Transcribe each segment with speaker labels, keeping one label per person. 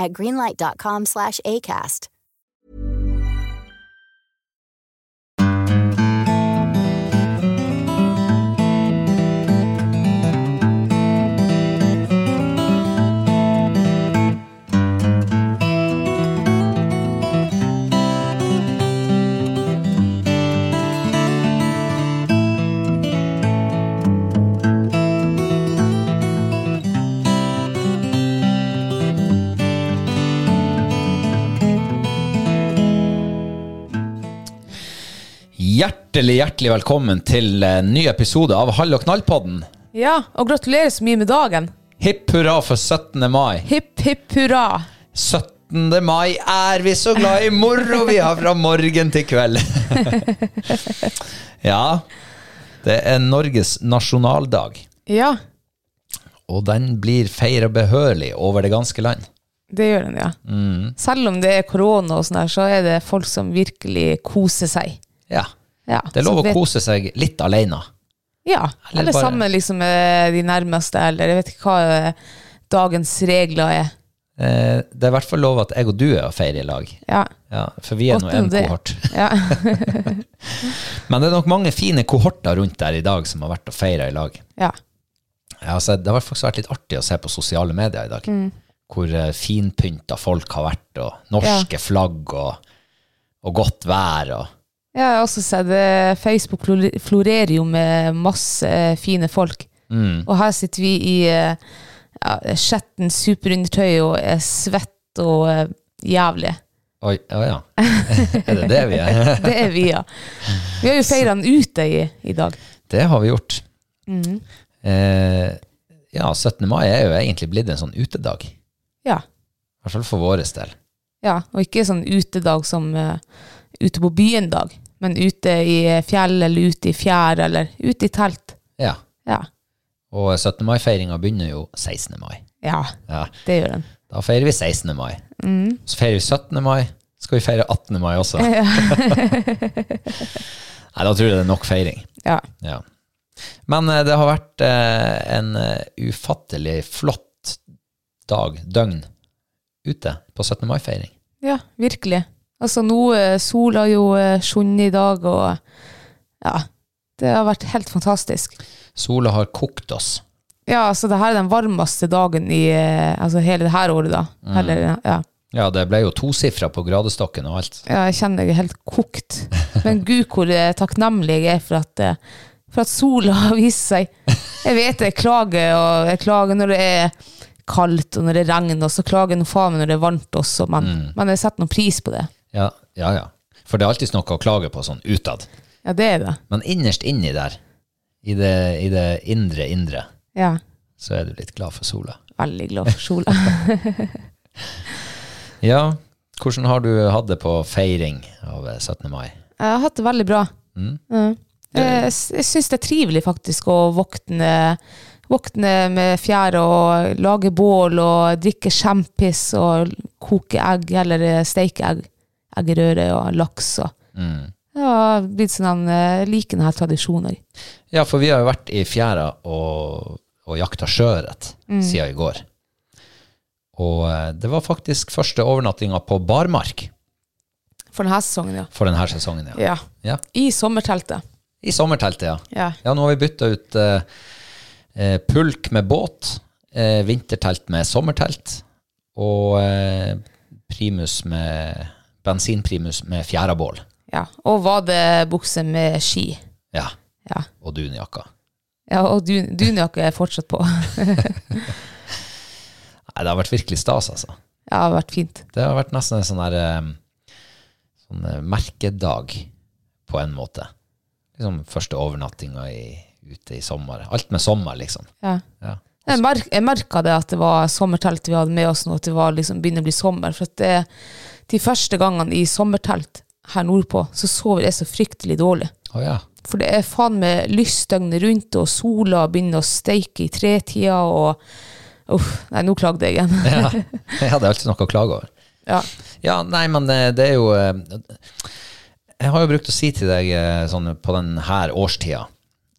Speaker 1: at greenlight.com slash ACAST.
Speaker 2: Hjertelig, hjertelig velkommen til en ny episode av Hall og knall-podden.
Speaker 3: Ja, og gratulerer så mye med dagen.
Speaker 2: Hipp hurra for 17. mai.
Speaker 3: Hipp, hipp hurra.
Speaker 2: 17. mai er vi så glad i moro vi har fra morgen til kveld. ja, det er Norges nasjonaldag,
Speaker 3: Ja,
Speaker 2: og den blir feira behørig over det ganske land.
Speaker 3: det gjør den, ja.
Speaker 2: Mm.
Speaker 3: Selv om det er korona og sånn her, så er det folk som virkelig koser seg.
Speaker 2: Ja,
Speaker 3: Ja,
Speaker 2: Det er lov
Speaker 3: så
Speaker 2: å
Speaker 3: vet-
Speaker 2: kose seg litt aleine.
Speaker 3: Ja,
Speaker 2: Eller
Speaker 3: eller
Speaker 2: bare-
Speaker 3: sammen liksom med de nærmeste, eller jeg vet ikke hva eh, dagens regler er.
Speaker 2: Eh, Det er i hvert fall lov at jeg og du er og feirer i lag.
Speaker 3: Ja,
Speaker 2: Ja, for vi er nå
Speaker 3: Godt med
Speaker 2: en
Speaker 3: det.
Speaker 2: kohort.
Speaker 3: ja.
Speaker 2: Men det er nok mange fine kohorter rundt der i dag som har vært og feira i lag.
Speaker 3: ja.
Speaker 2: Ja, altså, det har faktisk vært litt artig å se på sosiale medier i dag. Hvor eh, finpynta folk har vært, og norske flagg, og, og godt vær. Og,
Speaker 3: Jeg har også sett eh, Facebook flore- florerer jo med masse eh, fine folk.
Speaker 2: Mm.
Speaker 3: Og her sitter vi i eh, ja, skjetten superundertøy og er svett og eh, jævlige.
Speaker 2: oi, å ja. er det det vi er?
Speaker 3: Det er vi, ja. Vi har jo feira den ute i, i dag.
Speaker 2: Det har vi gjort. Eh, ja, 17. mai er jo egentlig blitt en sånn utedag. I
Speaker 3: Ja.
Speaker 2: hvert fall for vår del.
Speaker 3: ja. Og ikke sånn utedag som eh, ute på byen-dag, men ute i fjell eller ute i fjær eller ute i telt.
Speaker 2: Ja.
Speaker 3: Ja.
Speaker 2: Og 17. mai-feiringa begynner jo 16. mai.
Speaker 3: ja
Speaker 2: Ja.
Speaker 3: det gjør den.
Speaker 2: Da feirer vi 16. mai. Så feirer vi 17. mai. Skal vi feire 18. mai også? Nei, da tror jeg det er nok feiring.
Speaker 3: Ja.
Speaker 2: Ja. Men eh, det har vært eh, en eh, ufattelig flott dag, døgn, ute på 17. mai-feiring.
Speaker 3: Ja, virkelig. Altså nå, eh, sola har jo eh, skinnet i dag, og ja, det har vært helt fantastisk.
Speaker 2: Sola har kokt oss.
Speaker 3: Ja, altså det her er den varmeste dagen i eh, altså hele det her året da. Eller, ja.
Speaker 2: Ja, det ble jo tosifra på gradestokken og alt.
Speaker 3: ja, jeg kjenner jeg er helt kokt. Men gud, hvor eh, takknemlig jeg er for at, eh, for at sola har vist seg. Jeg vet jeg klager, og jeg klager når det er kaldt, og når det regner, og så klager jeg noe faen meg når det er varmt også, men, men jeg setter noen pris på det.
Speaker 2: Ja, ja, ja. For det er alltid noe å klage på sånn utad.
Speaker 3: Ja, det er det.
Speaker 2: Men innerst inni der, i det, i det indre indre,
Speaker 3: Ja,
Speaker 2: så er du litt glad for sola.
Speaker 3: veldig glad for sola.
Speaker 2: Ja, hvordan har du hatt det på feiring av eh, 17. mai?
Speaker 3: Jeg har hatt det
Speaker 2: Mm.
Speaker 3: veldig bra. Ja. Jeg, jeg syns det er trivelig faktisk å våkne Våkne med fjære og lage bål og drikke skjempis og koke egg, eller steike egg. Eggerøre og laks og
Speaker 2: Mm.
Speaker 3: Det har blitt sånn han eh, liker denne tradisjonen òg.
Speaker 2: Ja, for vi har jo vært i fjæra og, og jakta sjøørret siden i går. Og eh, det var faktisk første overnattinga på barmark
Speaker 3: For denne sesongen, ja.
Speaker 2: for denne sesongen. Ja.
Speaker 3: ja.
Speaker 2: Ja.
Speaker 3: I sommerteltet.
Speaker 2: I sommerteltet, ja.
Speaker 3: Ja.
Speaker 2: Ja, nå har vi bytta ut eh, eh, pulk med båt, eh, vintertelt med sommertelt og eh, primus med bensinprimus med fjærabål.
Speaker 3: ja. Og vadebukse med ski.
Speaker 2: Ja,
Speaker 3: Ja.
Speaker 2: og dunjakka.
Speaker 3: ja og dun dunjakke er fortsatt på.
Speaker 2: Nei, det har vært virkelig stas, altså.
Speaker 3: Ja, det har vært fint.
Speaker 2: Det har vært nesten en sånn der eh, sånn eh, merkedag, på en måte. Liksom første overnattinga i, ute i sommer. Alt med sommer, liksom.
Speaker 3: Ja.
Speaker 2: Ja.
Speaker 3: Jeg, mer jeg merka det at det var sommertelt vi hadde med oss nå, at det var liksom begynner å bli sommer. For at det, de første gangene i sommertelt her nordpå, så sover jeg så fryktelig dårlig.
Speaker 2: Å ja.
Speaker 3: For det er faen meg lyst døgnet rundt, og sola begynner å steike i tretida, og uff, nei, nå klagde jeg igjen.
Speaker 2: ja. Jeg hadde alltid noe å klage over.
Speaker 3: Ja.
Speaker 2: Ja, nei, men eh, det er jo eh, Jeg har jo brukt å si til deg eh, sånn på den her årstida,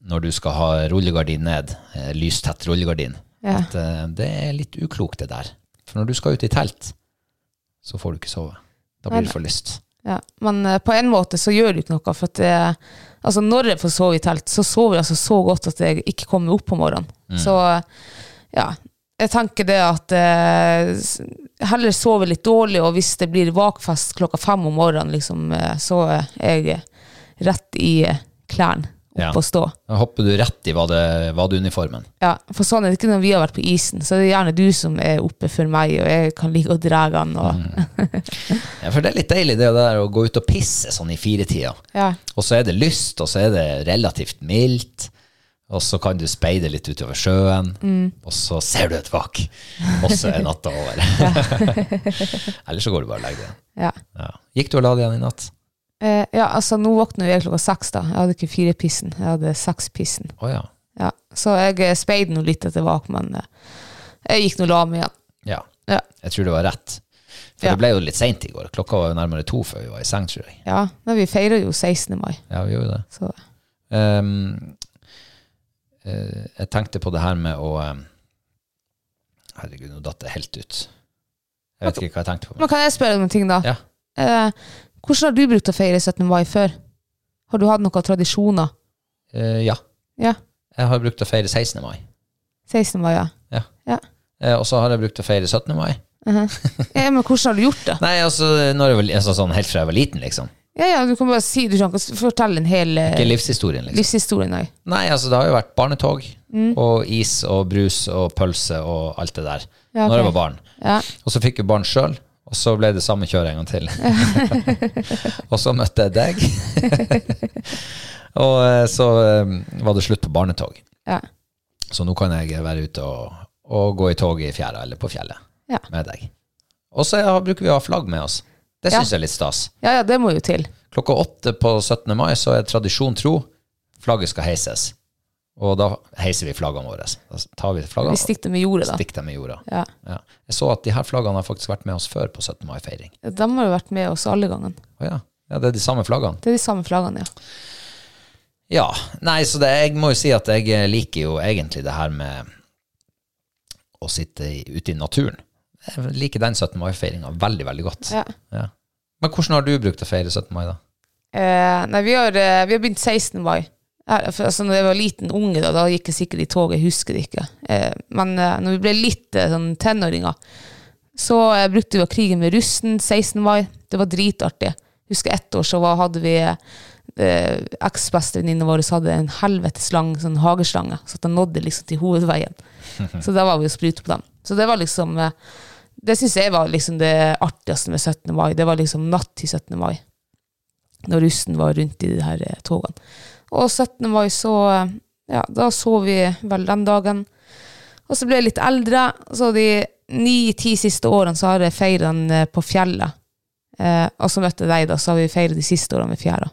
Speaker 2: når du skal ha rullegardin ned, eh, lystett rullegardin,
Speaker 3: Ja.
Speaker 2: at eh, det er litt uklokt, det der. For når du skal ut i telt, så får du ikke sove. Da
Speaker 3: Nei,
Speaker 2: blir du for lyst.
Speaker 3: Ja, men eh, på en måte så gjør det ikke noe, for at det, altså når jeg får sove i telt, så sover jeg altså så godt at jeg ikke kommer opp på morgenen. Så ja, jeg tenker det at eh, s- heller sove litt dårlig, og hvis det blir vakfest klokka fem om morgenen, liksom, eh, så er jeg rett i eh, klærne opp
Speaker 2: Ja.
Speaker 3: og stå.
Speaker 2: Da hopper du rett i vade- vadeuniformen.
Speaker 3: Ja, for sånn er det ikke når vi har vært på isen, så er det gjerne du som er oppe for meg, og jeg kan ligge og dra den. Og,
Speaker 2: Ja, for det er litt deilig det der å gå ut og pisse sånn i firetida.
Speaker 3: ja.
Speaker 2: Og så er det lyst, og så er det relativt mildt. Og så kan du speide litt utover sjøen, og så ser du et vak. Og så er natta over. Eller så går du bare og legger deg.
Speaker 3: ja.
Speaker 2: Ja. Gikk du og la deg igjen i natt?
Speaker 3: Eh, ja, altså nå våkner jeg klokka seks da. Jeg hadde ikke fire pissen, jeg hadde seks pissen.
Speaker 2: Å ja.
Speaker 3: Ja. Så jeg eh, speide nå litt etter vak, men eh, jeg gikk nå la meg igjen.
Speaker 2: ja.
Speaker 3: Ja.
Speaker 2: Jeg tror det var rett. For
Speaker 3: Ja.
Speaker 2: det ble jo litt seint i går. Klokka var jo nærmere to før vi var i seng, tror jeg.
Speaker 3: ja, men vi feirer jo 16. mai,
Speaker 2: Ja, vi gjorde det.
Speaker 3: så
Speaker 2: Ehm, eh, jeg tenkte på det her med å ehm, Herregud, nå datt det helt ut. Jeg vet ikke hva jeg tenkte på.
Speaker 3: Men kan jeg spørre deg om en ting da?
Speaker 2: Ja.
Speaker 3: Eh, hvordan har du brukt å feire 17. mai før? Har du hatt noen tradisjoner?
Speaker 2: Eh, ja.
Speaker 3: Ja,
Speaker 2: Jeg har brukt å feire 16. mai.
Speaker 3: 16. mai, ja.
Speaker 2: Eh, og så har jeg brukt å feire 17. mai.
Speaker 3: ja men hvordan har du gjort det?
Speaker 2: Nei, altså, når jeg var, altså sånn, helt fra jeg var liten, liksom.
Speaker 3: Ja, ja, du kan bare si, du kan ikke fortelle en hel eh,
Speaker 2: Ikke livshistorien, liksom.
Speaker 3: livshistorie nå.
Speaker 2: Nei, altså, det har jo vært barnetog
Speaker 3: Mm.
Speaker 2: og is og brus og pølse og alt det der.
Speaker 3: Ja, ok.
Speaker 2: Når jeg var barn.
Speaker 3: Ja,
Speaker 2: Og så fikk jeg barn sjøl, og så ble det samme kjøret en gang til. og så møtte jeg deg. og eh, så eh, var det slutt på barnetog.
Speaker 3: ja,
Speaker 2: Så nå kan jeg være ute og, og gå i tog i fjæra eller på fjellet
Speaker 3: Ja.
Speaker 2: med deg. Og så har- bruker vi å ha flagg med oss. Det
Speaker 3: Ja.
Speaker 2: syns jeg er litt stas.
Speaker 3: ja, ja, det må jo til.
Speaker 2: Klokka åtte på 17. mai så er tradisjon tro flagget skal heises. Og da heiser vi flaggene våre. Da tar vi
Speaker 3: Vi
Speaker 2: flaggene
Speaker 3: stikker med jordet
Speaker 2: og
Speaker 3: da.
Speaker 2: stikker dem i jorda.
Speaker 3: Ja.
Speaker 2: Ja. Jeg så at de her flaggene har faktisk vært med oss før på 17. mai-feiring.
Speaker 3: De har jo vært med oss alle gangen.
Speaker 2: Å ja. ja, det er de samme flaggene.
Speaker 3: Det er de samme flaggene, ja.
Speaker 2: Ja, nei, så det, jeg må jo si at jeg eh, liker jo egentlig det her med å sitte i, ute i naturen. Jeg liker den 17. mai-feiringa veldig, veldig godt.
Speaker 3: Ja.
Speaker 2: Ja. Men hvordan har du brukt å feire 17. mai, da?
Speaker 3: Eh, nei, vi har, eh, vi har begynt 16. mai. Ja, for, altså, når jeg var liten unge, da, da gikk jeg sikkert i tog, jeg husker det ikke. Eh, men eh, når vi ble litt eh, sånn tenåringer, så eh, brukte vi å krige med russen 16. mai. Det var dritartig. Husker ett år så var, hadde vi eh, eksbestevenninnene våre så hadde en helvetes lang sånn hageslange, så at den nådde liksom til hovedveien. Så da var vi og sprute på dem. Så det var liksom eh, Det syns jeg var liksom det artigste med 17. mai. Det var liksom natt til 17. mai. Når russen var rundt i de her eh, togene. Og 17. mai så eh, Ja, da sov vi vel den dagen. Og så ble jeg litt eldre, så de ni-ti siste årene så har jeg feiret den eh, på fjellet. Eh, og så møtte jeg deg, da, så har vi feiret de siste årene med fjæra.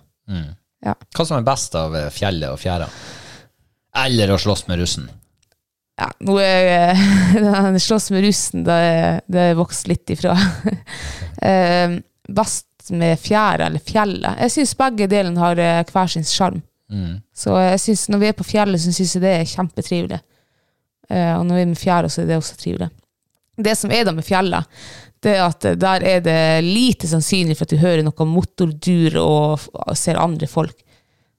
Speaker 3: Ja.
Speaker 2: Hva som er best av eh, fjellet og fjæra? Eller å slåss med russen?
Speaker 3: Ja, nå er den slåss med russen, det det er vokst litt ifra. Eh, Best med fjæra eller fjellet. Jeg syns begge delene har eh, hver sin sjarm. Så jeg synes når vi er på fjellet, så syns jeg det er kjempetrivelig. Eh, og når vi er med fjæra, så er det også trivelig. Det som er da med fjellet, det er at eh, der er det lite sannsynlig for at du hører noe motordur og f- og ser andre folk.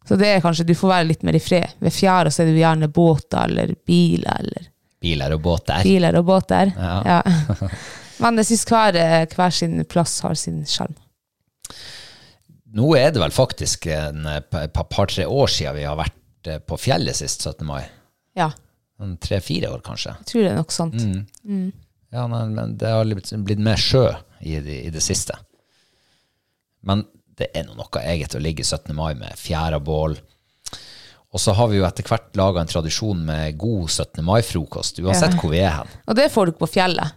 Speaker 3: Så det er kanskje, du får være litt mer i fred. Ved fjæra så er det jo gjerne båter eller biler eller
Speaker 2: Biler og båter.
Speaker 3: biler og båter.
Speaker 2: Ja.
Speaker 3: Ja. Men jeg syns hver, eh, hver sin plass har sin sjarm.
Speaker 2: Nå er det vel faktisk en eh, pa- pa- par-tre år siden vi har vært eh, på fjellet sist 17. mai.
Speaker 3: Ja,
Speaker 2: Sånn Tre-fire år, kanskje.
Speaker 3: jeg tror det er nok sånt.
Speaker 2: Ja, nei, men det har blitt, blitt mer sjø i, det- i det siste. Men det er nå noe eget å ligge 17. mai med fjæra bål. Og så har vi jo etter hvert laga en tradisjon med god 17. mai-frokost, uansett hvor vi er hen.
Speaker 3: Og det får du ikke på fjellet.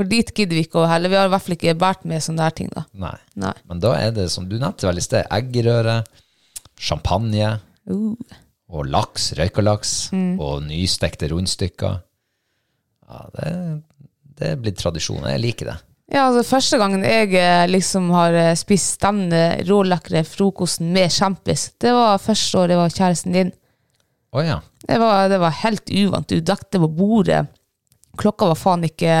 Speaker 3: For dit gidder vi ikke å heller. Vi har i hvert fall ikke båret med sånne der ting, da.
Speaker 2: Nei.
Speaker 3: Nei.
Speaker 2: Men da er det, som du nevnte vel i sted, eggerøre, champagne
Speaker 3: Uh.
Speaker 2: og laks, røykalaks, og nystekte rundstykker. Ja, det, det blir tradisjon. Jeg liker det.
Speaker 3: Ja, altså Første gangen jeg eh, liksom har eh, spist den eh, rålekre frokosten med kjempis, det var første året jeg var kjæresten din.
Speaker 2: Å ja.
Speaker 3: Det var, det var helt uvant. Du dekte på bordet. Klokka var faen ikke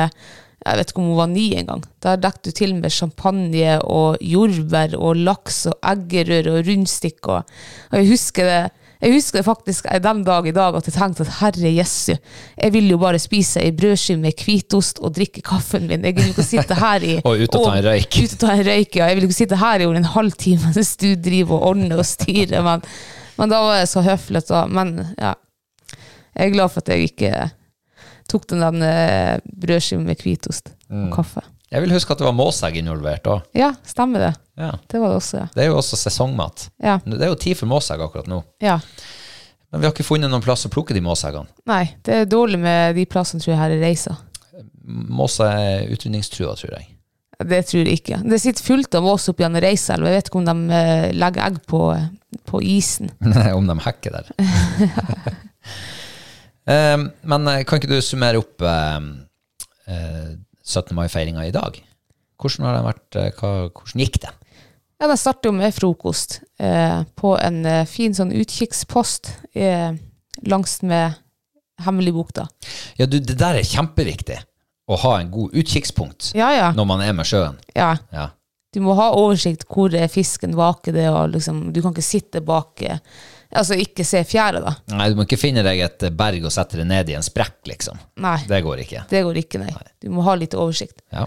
Speaker 3: Jeg vet ikke om hun var ni engang. Der dekte du til med champagne og jordbær og laks og eggerøre og rundstykker. Og, og jeg husker det jeg husker det faktisk den dag i dag at jeg tenkte at herre jessu, jeg vil jo bare spise ei brødskive med hvitost og drikke kaffen min. Jeg vil jo ikke sitte her i
Speaker 2: Og ut og ta en røyk.
Speaker 3: Ut og ta en røyk, ja. Jeg vil jo ikke sitte her i over en halvtime mens du driver og ordner og styrer. Men, men da var jeg så høflig at da Men ja. Jeg er glad for at jeg ikke tok den der eh, brødskiven med hvitost og kaffe.
Speaker 2: Jeg vil huske at det var måsegg involvert òg.
Speaker 3: Ja, stemmer det.
Speaker 2: Ja.
Speaker 3: Det var det også, ja.
Speaker 2: Det er jo også sesongmat.
Speaker 3: Ja.
Speaker 2: Det er jo tid for måsegg akkurat nå.
Speaker 3: ja.
Speaker 2: Men vi har ikke funnet noen plass å plukke de måseggene.
Speaker 3: Nei, det er dårlig med de plassene tror jeg her i reisa.
Speaker 2: Måse er utrydningstrua, tror jeg.
Speaker 3: Det tror jeg ikke. Det sitter fullt av mås oppi en reiselv. Jeg vet ikke om de eh, legger egg på, på isen.
Speaker 2: Om de hacker der. um, men eh, kan ikke du summere opp um, eh, 17. mai-feiringa i dag? Hvordan har den vært? eh, Hva, hvordan gikk det?
Speaker 3: Ja, den starter jo med frokost eh, på en eh, fin sånn utkikkspost eh, langs med Hemmeligboka.
Speaker 2: Ja, du, det der er kjempeviktig. Å ha en god utkikkspunkt
Speaker 3: Ja, ja.
Speaker 2: når man er med sjøen.
Speaker 3: ja.
Speaker 2: Ja.
Speaker 3: du må ha oversikt hvor eh, fisken vaker det, og liksom, du kan ikke sitte bak eh, Altså ikke se fjæra, da.
Speaker 2: Nei, du må ikke finne deg et berg og sette det ned i en sprekk, liksom.
Speaker 3: Nei, det,
Speaker 2: Det går ikke.
Speaker 3: går ikke, nei. Du må ha litt oversikt.
Speaker 2: Ja.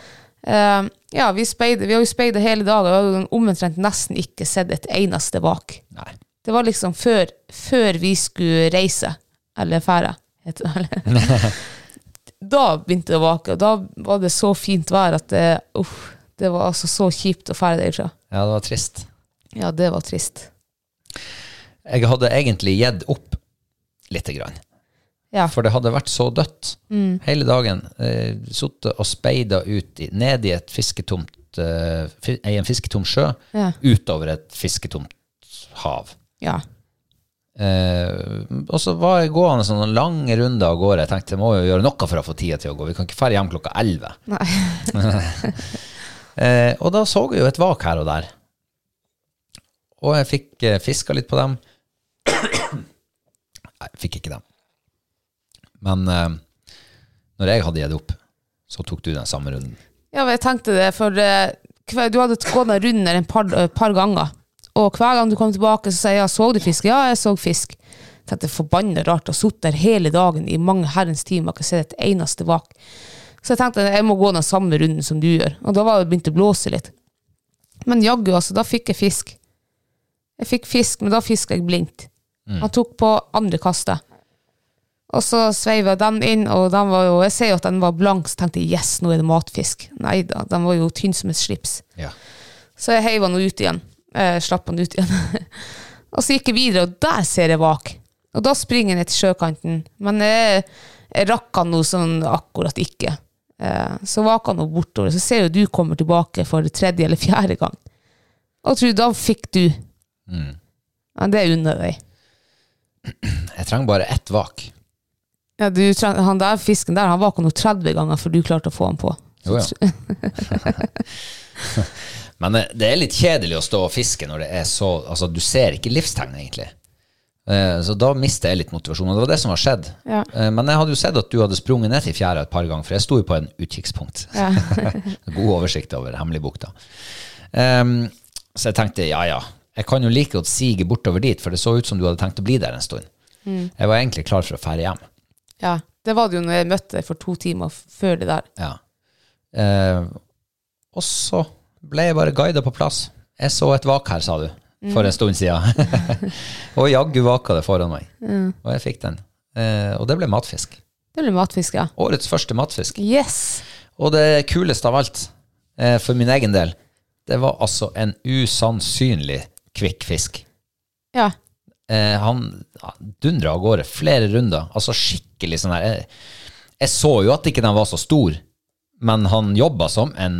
Speaker 3: Eh, ja, vi, speider, vi har jo speidet hele dagen, og vi har jo omtrent nesten ikke sett et eneste vak.
Speaker 2: Nei.
Speaker 3: Det var liksom før, før vi skulle reise, eller fære, heter det. Eller. da begynte det å vake, og da var det så fint vær at det, uff, det var altså så kjipt å fære derfra.
Speaker 2: Ja, det var trist.
Speaker 3: Ja, det var trist.
Speaker 2: Jeg hadde egentlig gitt opp lite grann.
Speaker 3: Ja.
Speaker 2: For det hadde vært så dødt hele dagen. Eh, Sittet og speida ut i, ned i et fisketomt eh, fi- i en fisketom sjø
Speaker 3: Ja.
Speaker 2: utover et fisketomt hav.
Speaker 3: ja.
Speaker 2: Eh, og så var jeg gående sånn sånne lange runder av gårde. Jeg tenkte jeg må jo gjøre noe for å få tida til å gå. Vi kan ikke dra hjem klokka elleve. eh, og da så jeg jo et vak her og der. Og jeg fikk eh, fiska litt på dem. Nei, jeg fikk ikke dem. Men eh, når jeg hadde gitt opp, så tok du den samme runden.
Speaker 3: Ja, men jeg tenkte det, for eh, hver, du hadde gått den runden der en par, eh, par ganger. Og hver gang du kom tilbake, så sa jeg ja, så du fisk? Ja, jeg så fisk. Jeg tenkte forbanna rart å sitte der hele dagen i mange herrens timer og ikke se et eneste vak. Så jeg tenkte jeg må gå den samme runden som du gjør. Og da var det begynt å blåse litt. Men jaggu, altså, da fikk jeg fisk. Jeg fikk fisk, men da fiska jeg blindt. Han tok på andre kastet. Og så sveiva den inn, og den var jo, jeg ser jo at den var blank, så tenkte jeg yes, nå er det matfisk. Nei da, den var jo tynn som et slips.
Speaker 2: Ja.
Speaker 3: Så jeg heiv den ut igjen. Eh, slapp den ut igjen. og så gikk jeg videre, og der ser jeg vak. Og da springer jeg ned til sjøkanten. Men jeg, jeg rakk han nå sånn akkurat ikke. Eh, så vaker han nå bortover, så ser jo du kommer tilbake for tredje eller fjerde gang. Og tror du, da fikk du. Men det unner jeg deg.
Speaker 2: Jeg trenger bare ett vak.
Speaker 3: Ja, du, treng- han der fisken der, han var ikke noe 30 ganger før du klarte å få han på.
Speaker 2: Jo, ja. Men eh, det er litt kjedelig å stå og fiske når det er så Altså, du ser ikke livstegn, egentlig. Eh, Så da mister jeg litt motivasjon, og det var det som var skjedd.
Speaker 3: Ja.
Speaker 2: Eh, Men jeg hadde jo sett at du hadde sprunget ned til fjæra et par ganger, for jeg sto jo på en utkikkspunkt.
Speaker 3: Ja.
Speaker 2: God oversikt over Hemligbukta. Ehm, så jeg tenkte ja, ja, jeg kan jo like godt sige bortover dit, for det så ut som du hadde tenkt å bli der en stund. Jeg var egentlig klar for å fære hjem.
Speaker 3: ja. Det var det jo når jeg møtte deg for to timer f- før det der.
Speaker 2: Ja. Eh, og så ble jeg bare guida på plass. Jeg så et vak her, sa du, for en stund siden. og jaggu vaka det foran meg. Og jeg fikk den. Eh, og det ble matfisk.
Speaker 3: Det ble matfisk, ja.
Speaker 2: Årets første matfisk.
Speaker 3: Yes!
Speaker 2: Og det kuleste av alt, eh, for min egen del, det var altså en usannsynlig kvikk fisk.
Speaker 3: Ja.
Speaker 2: Eh, han dundra av gårde flere runder. Altså skikkelig sånn her jeg, jeg så jo at ikke den var så stor, men han jobba som en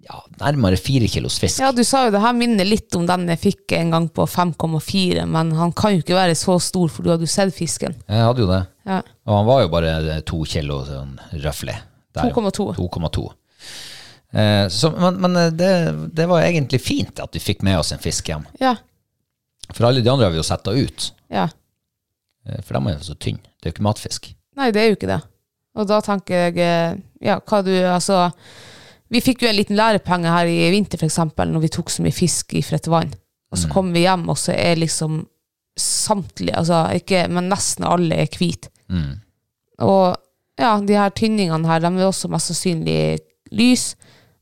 Speaker 2: ja, nærmere fire kilos fisk.
Speaker 3: ja, du sa jo det her minner litt om den jeg fikk en gang på 5,4, men han kan jo ikke være så stor, for du hadde jo sett fisken.
Speaker 2: Jeg hadde jo det.
Speaker 3: Ja.
Speaker 2: Og han var jo bare eh, to kilo sånn røffelig. Der.
Speaker 3: 2,2.
Speaker 2: 2,2. Eh, så- men men eh, det, det var egentlig fint at vi fikk med oss en fisk hjem.
Speaker 3: Ja.
Speaker 2: For alle de andre har vi jo setta ut.
Speaker 3: ja.
Speaker 2: Eh, For de er jo så tynne. Det er jo ikke matfisk.
Speaker 3: Nei, det er jo ikke det. Og da tenker jeg eh, Ja, hva du Altså, vi fikk jo en liten lærepenge her i vinter, for eksempel, når vi tok så mye fisk fra et vann. Og
Speaker 2: Mm.
Speaker 3: så kommer vi hjem, og så er liksom samtlige, altså ikke Men nesten alle er hvite.
Speaker 2: Mm.
Speaker 3: Og ja, de her tynningene her, de er også mest sannsynlig lys.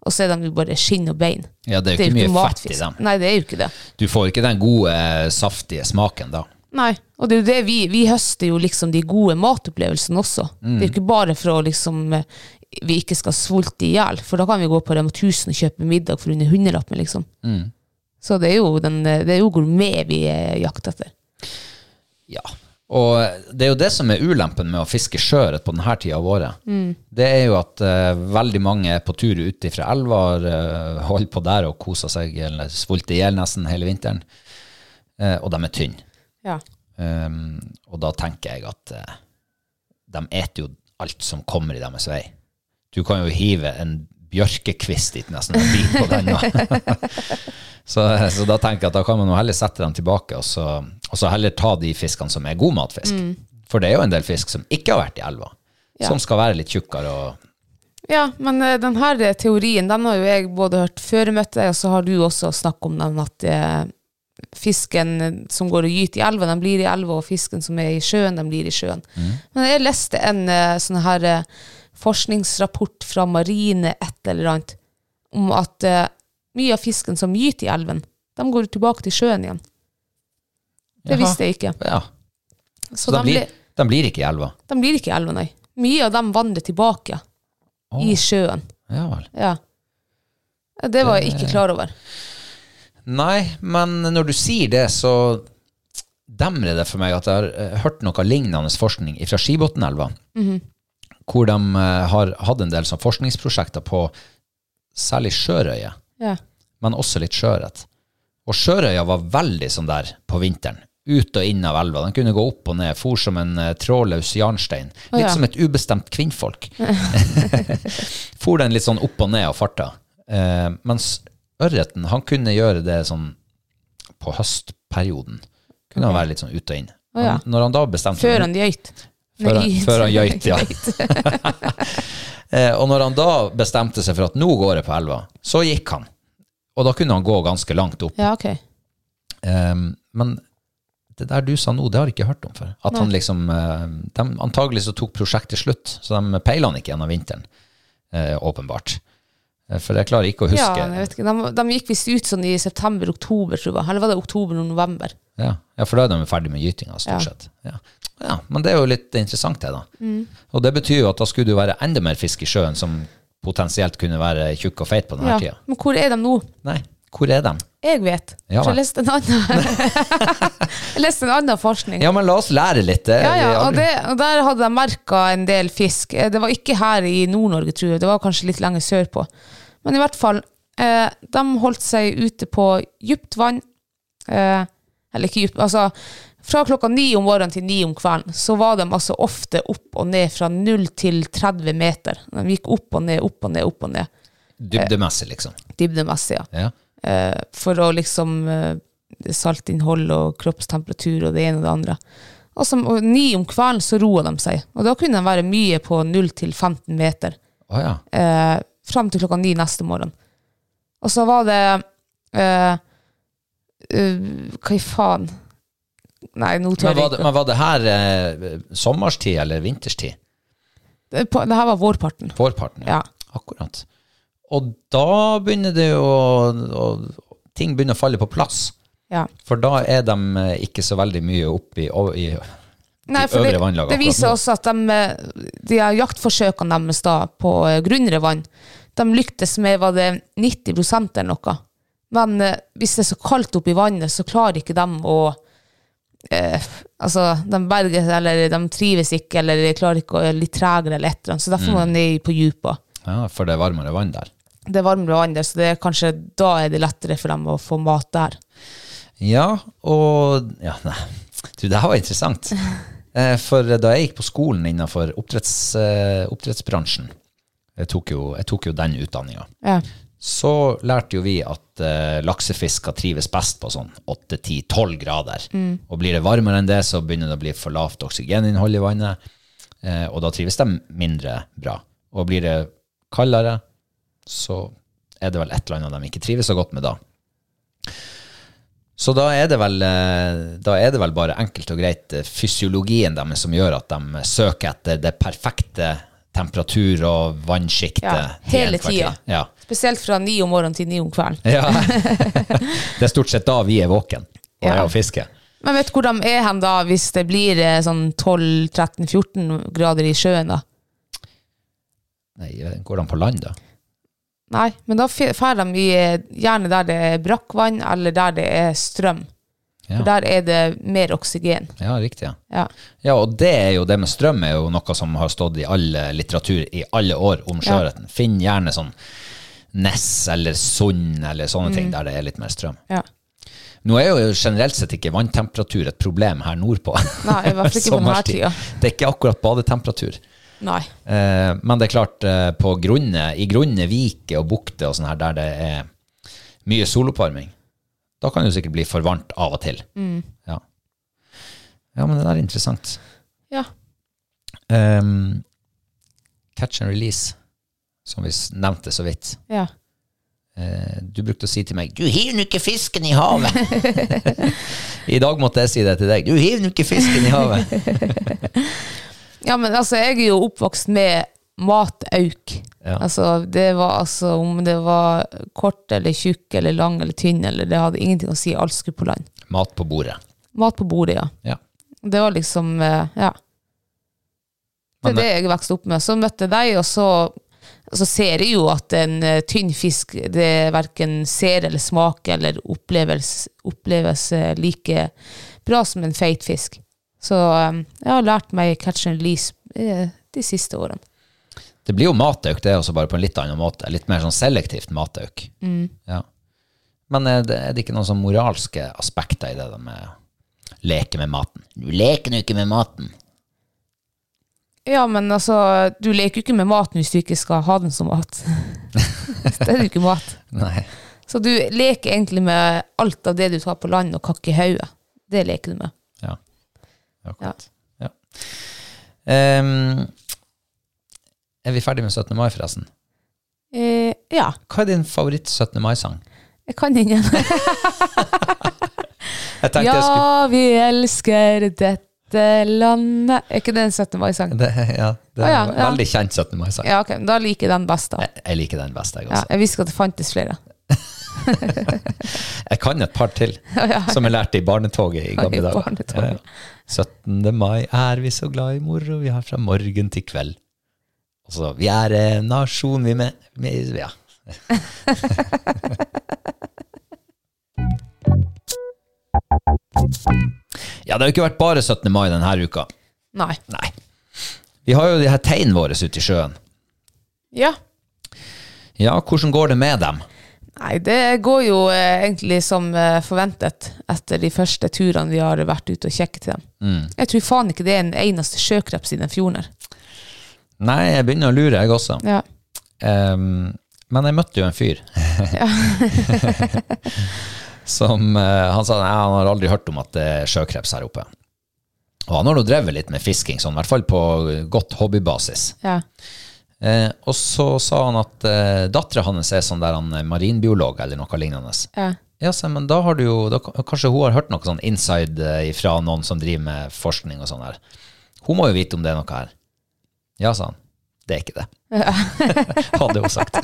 Speaker 3: Og så er de jo bare skinn og bein.
Speaker 2: Ja, det er jo ikke mye fett i
Speaker 3: matfisk.
Speaker 2: dem.
Speaker 3: Nei, det er jo ikke det.
Speaker 2: Du får ikke den gode, eh, saftige smaken da.
Speaker 3: Nei, og det er jo det vi, vi høster jo liksom de gode matopplevelsene også. Det er jo ikke bare for å liksom eh, vi ikke skal svolte i hjel, for da kan vi gå på Rema 1000 og kjøpe middag for under hundrelappen, liksom. Så det er jo, den, eh, det er jo gourmet vi eh, jakter etter.
Speaker 2: Ja. Og eh, det er jo det som er ulempen med å fiske sjøørret på denne tida av året. Det er jo at eh, veldig mange er på tur ute fra elva, uh, holder på der og koser seg, eller svulter i hjel nesten hele vinteren. Eh, og de er tynne.
Speaker 3: Ja.
Speaker 2: Um, og da tenker jeg at eh, de eter jo alt som kommer i deres vei. Du kan jo hive en bjørkekvist dit nesten og bite på den. nå. så, så da tenker jeg at da kan man jo heller sette dem tilbake, og så, og så heller ta de fiskene som er god matfisk. For det er jo en del fisk som ikke har vært i elva,
Speaker 3: Ja.
Speaker 2: som skal være litt tjukkere og
Speaker 3: ja, men eh, den her eh, teorien, den har jo jeg både hørt før møtet, og så har du også snakket om den at eh, fisken eh, som går og gyter i elva, den blir i elva, og fisken som er i sjøen, den blir i sjøen.
Speaker 2: Mm.
Speaker 3: Men jeg leste en eh, sånn her eh, forskningsrapport fra marine et eller annet, om at eh, mye av fisken som gyter i elven, de går tilbake til sjøen igjen. Det
Speaker 2: Jaha.
Speaker 3: visste jeg ikke.
Speaker 2: Ja.
Speaker 3: Så,
Speaker 2: Så, de, blir,
Speaker 3: ble-
Speaker 2: de blir ikke i elva.
Speaker 3: de blir ikke i elva, nei. Mye av dem vandrer tilbake
Speaker 2: Å,
Speaker 3: i sjøen.
Speaker 2: ja vel.
Speaker 3: Ja. Det var jeg ikke
Speaker 2: Eh,
Speaker 3: klar over.
Speaker 2: Nei, men når du sier det, så demrer det for meg at jeg har eh, hørt noe lignende forskning fra Skibotnelva, hvor de eh, har hatt en del sånn forskningsprosjekter på særlig sjørøye,
Speaker 3: Ja.
Speaker 2: men også litt sjøørret. Og sjørøya var veldig sånn der på vinteren. Ut og inn av elva. Den kunne gå opp og ned, for som en eh, trådløs jarnstein. Litt
Speaker 3: ja.
Speaker 2: som et ubestemt kvinnfolk. for den litt sånn opp og ned og farta. Eh, mens ørreten, han kunne gjøre det sånn på høstperioden. Kunne han være litt sånn ut og inn.
Speaker 3: Å ja.
Speaker 2: Men Når han da bestemte
Speaker 3: Før han gjøyt.
Speaker 2: Før han-
Speaker 3: Nei,
Speaker 2: før han gjøyt, ja. Eh, og når han da bestemte seg for at nå går jeg på elva, så gikk han. Og da kunne han gå ganske langt opp.
Speaker 3: ja, ok.
Speaker 2: Ehm, men det der du sa nå, det har jeg ikke hørt om før. At han liksom, eh, de, antagelig så tok prosjektet slutt, så de peila han ikke gjennom vinteren, eh, åpenbart. Eh, For jeg klarer ikke å
Speaker 3: Ja,
Speaker 2: huske.
Speaker 3: jeg vet ikke. De, de gikk visst ut sånn i september-oktober, tror jeg. Eller var det oktober og november?
Speaker 2: Ja, ja for da er de ferdig med gytinga,
Speaker 3: Ja.
Speaker 2: stort sett. Ja. ja, Men det er jo litt interessant, det, da.
Speaker 3: Mm.
Speaker 2: Og det betyr jo at da skulle det jo være enda mer fisk i sjøen som potensielt kunne være tjukk og feit på denne
Speaker 3: Ja.
Speaker 2: tida.
Speaker 3: Men hvor er de nå?
Speaker 2: Nei, hvor er de?
Speaker 3: Jeg vet.
Speaker 2: Ja,
Speaker 3: For
Speaker 2: vel.
Speaker 3: jeg leste en annen, jeg leste en annen forskning.
Speaker 2: Ja, men la oss lære litt. Eh, Det, er
Speaker 3: Ja, ja,
Speaker 2: vi
Speaker 3: og,
Speaker 2: aldri-
Speaker 3: det, og der hadde de merka en del fisk. Eh, Det var ikke her i Nord-Norge, tror jeg. Det var kanskje litt lenger sørpå. Men i hvert fall, eh, de holdt seg ute på dypt vann. Eh, eller ikke dypt, altså Fra klokka ni om morgenen til ni om kvelden så var de altså ofte opp og ned fra 0 til 30 meter. De gikk opp og ned, opp og ned, opp og ned.
Speaker 2: Dybdemessig, liksom.
Speaker 3: Dybdemessig, ja.
Speaker 2: Ja.
Speaker 3: Eh, for å liksom eh, saltinnhold og kroppstemperatur og det ene og det andre. Og, som, og ni om kvelden så roa de seg, og da kunne de være mye på 0 til 15 meter
Speaker 2: Å ja.
Speaker 3: eh, fram til klokka ni neste morgen. Og så var det eh, eh, Hva i faen? Nei, nå tør
Speaker 2: Men var,
Speaker 3: jeg
Speaker 2: det,
Speaker 3: ikke.
Speaker 2: men var det her eh, sommerstid eller vinterstid?
Speaker 3: Det, på- det her var vårparten.
Speaker 2: Vårparten?
Speaker 3: Ja.
Speaker 2: Akkurat. Og da begynner det jo å, å Ting begynner å falle på plass.
Speaker 3: ja.
Speaker 2: For da er de eh, ikke så veldig mye oppe i, o- i
Speaker 3: Nei, for
Speaker 2: øvre
Speaker 3: det,
Speaker 2: vannlag
Speaker 3: det
Speaker 2: akkurat
Speaker 3: viser
Speaker 2: nå.
Speaker 3: også at de, eh, de her jaktforsøkene deres da, på eh, grunnere vann, de lyktes med var det 90 eller noe. Men eh, hvis det er så kaldt oppe i vannet, så klarer ikke de å eh, Altså, de berger seg, eller de trives ikke, eller de klarer ikke å er litt tregere, eller et eller annet. Så derfor
Speaker 2: Mm.
Speaker 3: må de ned på dypet.
Speaker 2: Ja, for det er varmere vann der.
Speaker 3: Det er varmere vann der, så det er kanskje, da er det lettere for dem å få mat der.
Speaker 2: Ja, og ja, nei. Du, det her var interessant. Eh, For da jeg gikk på skolen innenfor oppdretts, eh, oppdrettsbransjen, jeg tok jo, jeg tok jo den utdanninga,
Speaker 3: Ja.
Speaker 2: så lærte jo vi at eh, laksefisker trives best på sånn 8-10-12 grader.
Speaker 3: Mm.
Speaker 2: Og blir det varmere enn det, så begynner det å bli for lavt oksygeninnhold i vannet, eh, og da trives de mindre bra. Og blir det kaldere, så er det vel et eller annet de ikke trives så godt med da. Så da er, det vel, eh, da er det vel bare enkelt og greit eh, fysiologien deres som gjør at de søker etter det perfekte temperatur- og vannsjiktet.
Speaker 3: Ja,
Speaker 2: til
Speaker 3: hele
Speaker 2: enhver
Speaker 3: tida.
Speaker 2: tid. Ja.
Speaker 3: Spesielt fra ni om morgenen til ni om kvelden.
Speaker 2: ja. det er stort sett da vi er våken og
Speaker 3: Ja.
Speaker 2: er og fisker.
Speaker 3: Men vet du hvor de er hen da, hvis det blir eh, sånn 12-13-14 grader i sjøen da?
Speaker 2: Nei, går de på land da?
Speaker 3: Nei, men da drar de i, eh, gjerne der det er brakkvann, eller der det er strøm.
Speaker 2: Ja.
Speaker 3: For der er det mer oksygen.
Speaker 2: Ja, riktig. Ja.
Speaker 3: Ja.
Speaker 2: Ja, og det er jo det med strøm er jo noe som har stått i all litteratur i alle år om sjøørreten. Finn gjerne sånn Ness eller Sund eller sånne
Speaker 3: Mm.
Speaker 2: ting der det er litt mer strøm.
Speaker 3: ja.
Speaker 2: Nå er jo generelt sett ikke vanntemperatur et problem her nordpå.
Speaker 3: Nei, i hvert fall ikke på denne
Speaker 2: Sommerstid.
Speaker 3: tida.
Speaker 2: Det er ikke akkurat badetemperatur.
Speaker 3: Nei.
Speaker 2: Eh, men det er klart, eh, på grunne, i grunne viker og bukter og sånn her, der det er mye soloppvarming, da kan det jo sikkert bli for varmt av og til. Ja. ja, men det der er interessant.
Speaker 3: Ja.
Speaker 2: Ehm, catch and release, som vi s- nevnte så vidt.
Speaker 3: Ja.
Speaker 2: Eh, du brukte å si til meg 'Du hiver nå ikke fisken i havet'. I dag måtte jeg si det til deg. 'Du hiver nå ikke fisken i havet'.
Speaker 3: ja, men altså, jeg er jo oppvokst med matauk.
Speaker 2: Ja.
Speaker 3: Altså, det var altså, om det var kort eller tjukk eller lang eller tynn, eller det hadde ingenting å si, alt skulle på land.
Speaker 2: Mat på bordet.
Speaker 3: Mat på bordet, ja.
Speaker 2: Ja.
Speaker 3: Det var liksom, eh, ja. Det
Speaker 2: Men
Speaker 3: er det jeg vokste opp med. Så møtte jeg deg, og så, så ser jeg jo at en eh, tynn fisk det verken ser eller smaker eller oppleves, oppleves eh, like bra som en feit fisk. Så eh, jeg har lært meg catch and release eh, de siste årene.
Speaker 2: Det blir jo matauk, det er også bare på en litt annen måte. Litt mer sånn selektivt matauk.
Speaker 3: Mm.
Speaker 2: Ja. Men er det, er det ikke noen sånn moralske aspekter i det der med å leke med maten? Du leker nå ikke med maten.
Speaker 3: Ja, men altså, du leker jo ikke med maten hvis du ikke skal ha den som mat. det er jo ikke mat.
Speaker 2: Nei.
Speaker 3: Så du leker egentlig med alt av det du tar på land og kakker i hodet. Det leker du med.
Speaker 2: Ja. Akkurat. Ja. Ehm, er vi ferdig med 17. mai, forresten?
Speaker 3: Eh, ja,
Speaker 2: Hva er din favoritt 17. mai-sang?
Speaker 3: jeg kan ingen.
Speaker 2: Jeg tenkte jeg skulle
Speaker 3: Ja, vi elsker dette landet Er ikke det en 17. mai-sang?
Speaker 2: det, ja, det
Speaker 3: Å,
Speaker 2: er
Speaker 3: ja,
Speaker 2: en
Speaker 3: ja.
Speaker 2: veldig kjent 17. mai-sang.
Speaker 3: Ja, ok, da liker jeg den best, da.
Speaker 2: Jeg, jeg liker den best, jeg altså. også.
Speaker 3: Ja, jeg visste ikke at det fantes flere.
Speaker 2: Jeg kan et par til, som jeg lærte i barnetoget i gamle
Speaker 3: I
Speaker 2: dager.
Speaker 3: barnetoget.
Speaker 2: Ja, ja. 17. mai er vi så glad i moro vi har fra morgen til kveld. Og så, vi er en nasjon, vi med, med Ja. ja, det har jo ikke vært bare 17. mai denne uka.
Speaker 3: Nei.
Speaker 2: Nei. Vi har jo de her tegnene våre ute i sjøen.
Speaker 3: Ja.
Speaker 2: Ja, hvordan går det med dem?
Speaker 3: Nei, det går jo eh, egentlig som eh, forventet etter de første turene vi har vært ute og sjekket til dem.
Speaker 2: Mm.
Speaker 3: Jeg tror faen ikke det er en eneste sjøkreps i den fjorden her.
Speaker 2: Nei, jeg begynner å lure, jeg også.
Speaker 3: Ja.
Speaker 2: Ehm, men jeg møtte jo en fyr. som eh, Han sa nei, han har aldri hørt om at det er sjøkreps her oppe. Og han har nå drevet litt med fisking, sånn, i hvert fall på godt hobbybasis.
Speaker 3: Ja.
Speaker 2: Eh, og så sa han at eh, dattera hans er sånn der han er marinbiolog eller noe lignende.
Speaker 3: Ja.
Speaker 2: Ja, sa jeg, men da har du jo da, k- Kanskje hun har hørt noe sånn inside eh, fra noen som driver med forskning og sånn her. Hun må jo vite om det er noe her. Ja, sa han. Det er ikke det. Hadde hun sagt.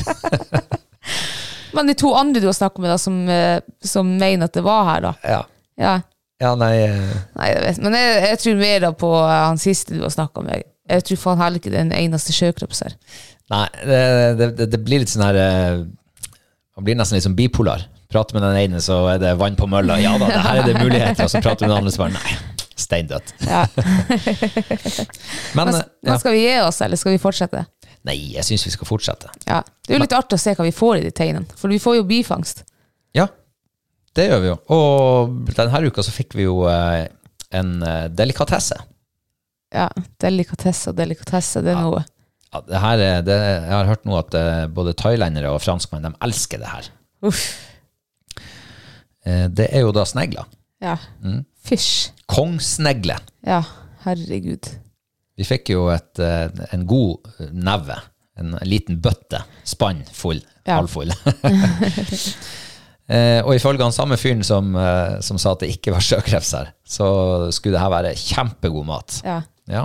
Speaker 3: Men de to andre du har snakket med, da, som, eh, som mener at det var her, da.
Speaker 2: Ja.
Speaker 3: Ja.
Speaker 2: ja, nei eh,
Speaker 3: Nei, jeg vet. Men jeg, jeg tror mer da på eh, han siste du har snakket med. Jeg tror faen heller ikke det er en eneste sjøkreps her.
Speaker 2: Nei, det, det, det, det blir litt sånn her eh, Man blir nesten litt sånn bipolar. Prater med den ene, så er det vann på mølla. Ja da, det her er det muligheter. Og så prater du med den andre, så bare nei. Steindødt.
Speaker 3: Ja.
Speaker 2: Men, eh,
Speaker 3: Men,
Speaker 2: ja.
Speaker 3: men skal vi gi oss, eller skal vi fortsette?
Speaker 2: Nei, jeg syns vi skal fortsette.
Speaker 3: Ja. Det er jo litt artig å se hva vi får i de teinene, for vi får jo bifangst.
Speaker 2: Ja, det gjør vi jo. Og denne uka så fikk vi jo eh, en eh, delikatesse.
Speaker 3: Ja, delikatesse og delikatesse, det er noe.
Speaker 2: Ja, det her er, det, jeg har hørt nå at eh, både thailendere og franskmenn de elsker det her.
Speaker 3: Uff.
Speaker 2: Eh, det er jo da snegler.
Speaker 3: Ja.
Speaker 2: Mm.
Speaker 3: Fysj.
Speaker 2: Kongsnegle.
Speaker 3: Ja, herregud.
Speaker 2: Vi fikk jo et, eh, en god neve, en liten bøtte, spann full,
Speaker 3: Ja.
Speaker 2: halvfull. Eh, og ifølge han samme fyren som, eh, som sa at det ikke var sjøkreps her, så skulle det her være kjempegod mat.
Speaker 3: Ja.
Speaker 2: Ja,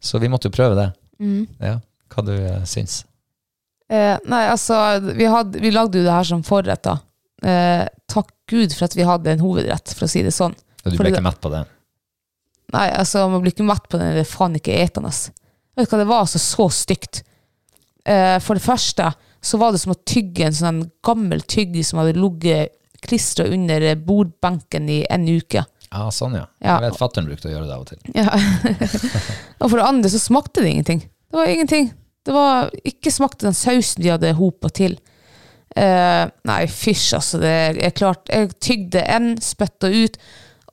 Speaker 2: så vi måtte jo prøve det.
Speaker 3: Mm.
Speaker 2: Ja, hva du eh, syns.
Speaker 3: Eh, nei, altså, vi, hadde, vi lagde jo det her som forrett, da. Eh, takk Gud for at vi hadde en hovedrett, for å si det sånn.
Speaker 2: Du
Speaker 3: Fordi
Speaker 2: ble
Speaker 3: det-
Speaker 2: ikke mett på det?
Speaker 3: Nei, altså, man blir ikke mett på den, det er faen ikke etende. ass. Vet du hva, det var altså så stygt. Eh, for det første, så var det som å tygge en sånn gammel tygg som hadde ligget klistra under eh, bordbenken i en uke.
Speaker 2: Ja, sånn ja.
Speaker 3: Ja.
Speaker 2: Jeg vet fattern brukte å gjøre det av og til.
Speaker 3: Ja. og for det andre så smakte det ingenting. Det var ingenting. Det var ikke smakte den sausen de hadde hopa til. Eh, nei, fysj, altså. Det er jeg klart. Jeg tygde en, spytta ut,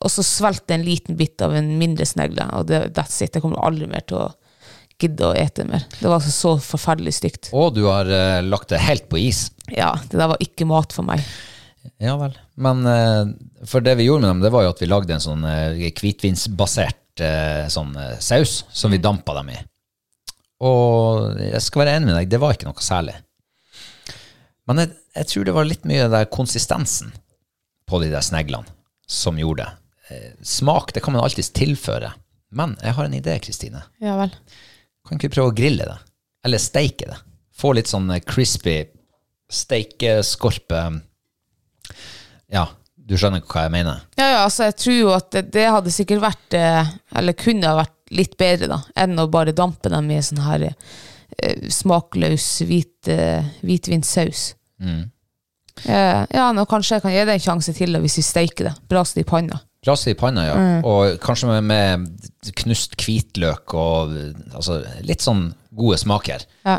Speaker 3: og så svelgte jeg en liten bit av en mindre snegle. Og det, that's it. Jeg kommer aldri mer til å gidde å ete mer. Det var altså så forferdelig stygt.
Speaker 2: Og du har eh, lagt det helt på is.
Speaker 3: Ja, det der var ikke mat for meg.
Speaker 2: Ja vel. Men eh, for det vi gjorde med dem, det var jo at vi lagde en sånn eh, hvitvinsbasert eh, sånn eh, saus som vi dampa dem i. Og jeg skal være enig med deg, det var ikke noe særlig. Men jeg, jeg tror det var litt mye den der konsistensen på de der sneglene som gjorde det. Eh, smak, det kan man alltids tilføre. Men jeg har en idé, Kristine.
Speaker 3: Ja vel.
Speaker 2: Kan ikke vi prøve å grille det? Eller steike det? Få litt sånn eh, crispy steikeskorpe Ja, du skjønner hva jeg mener?
Speaker 3: Ja, ja, altså jeg tror jo at det, det hadde sikkert vært, eh, eller kunne ha vært litt bedre da, enn å bare dampe dem i sånn her eh, smakløs hvit, eh, hvitvinsaus.
Speaker 2: Mm.
Speaker 3: Eh, ja, nå kanskje jeg kan gi det en sjanse til da, hvis vi steiker det. Braser det i panna.
Speaker 2: Glaset i panna, ja. Og kanskje med, med knust hvitløk og eh, altså, litt sånn gode smaker.
Speaker 3: Ja.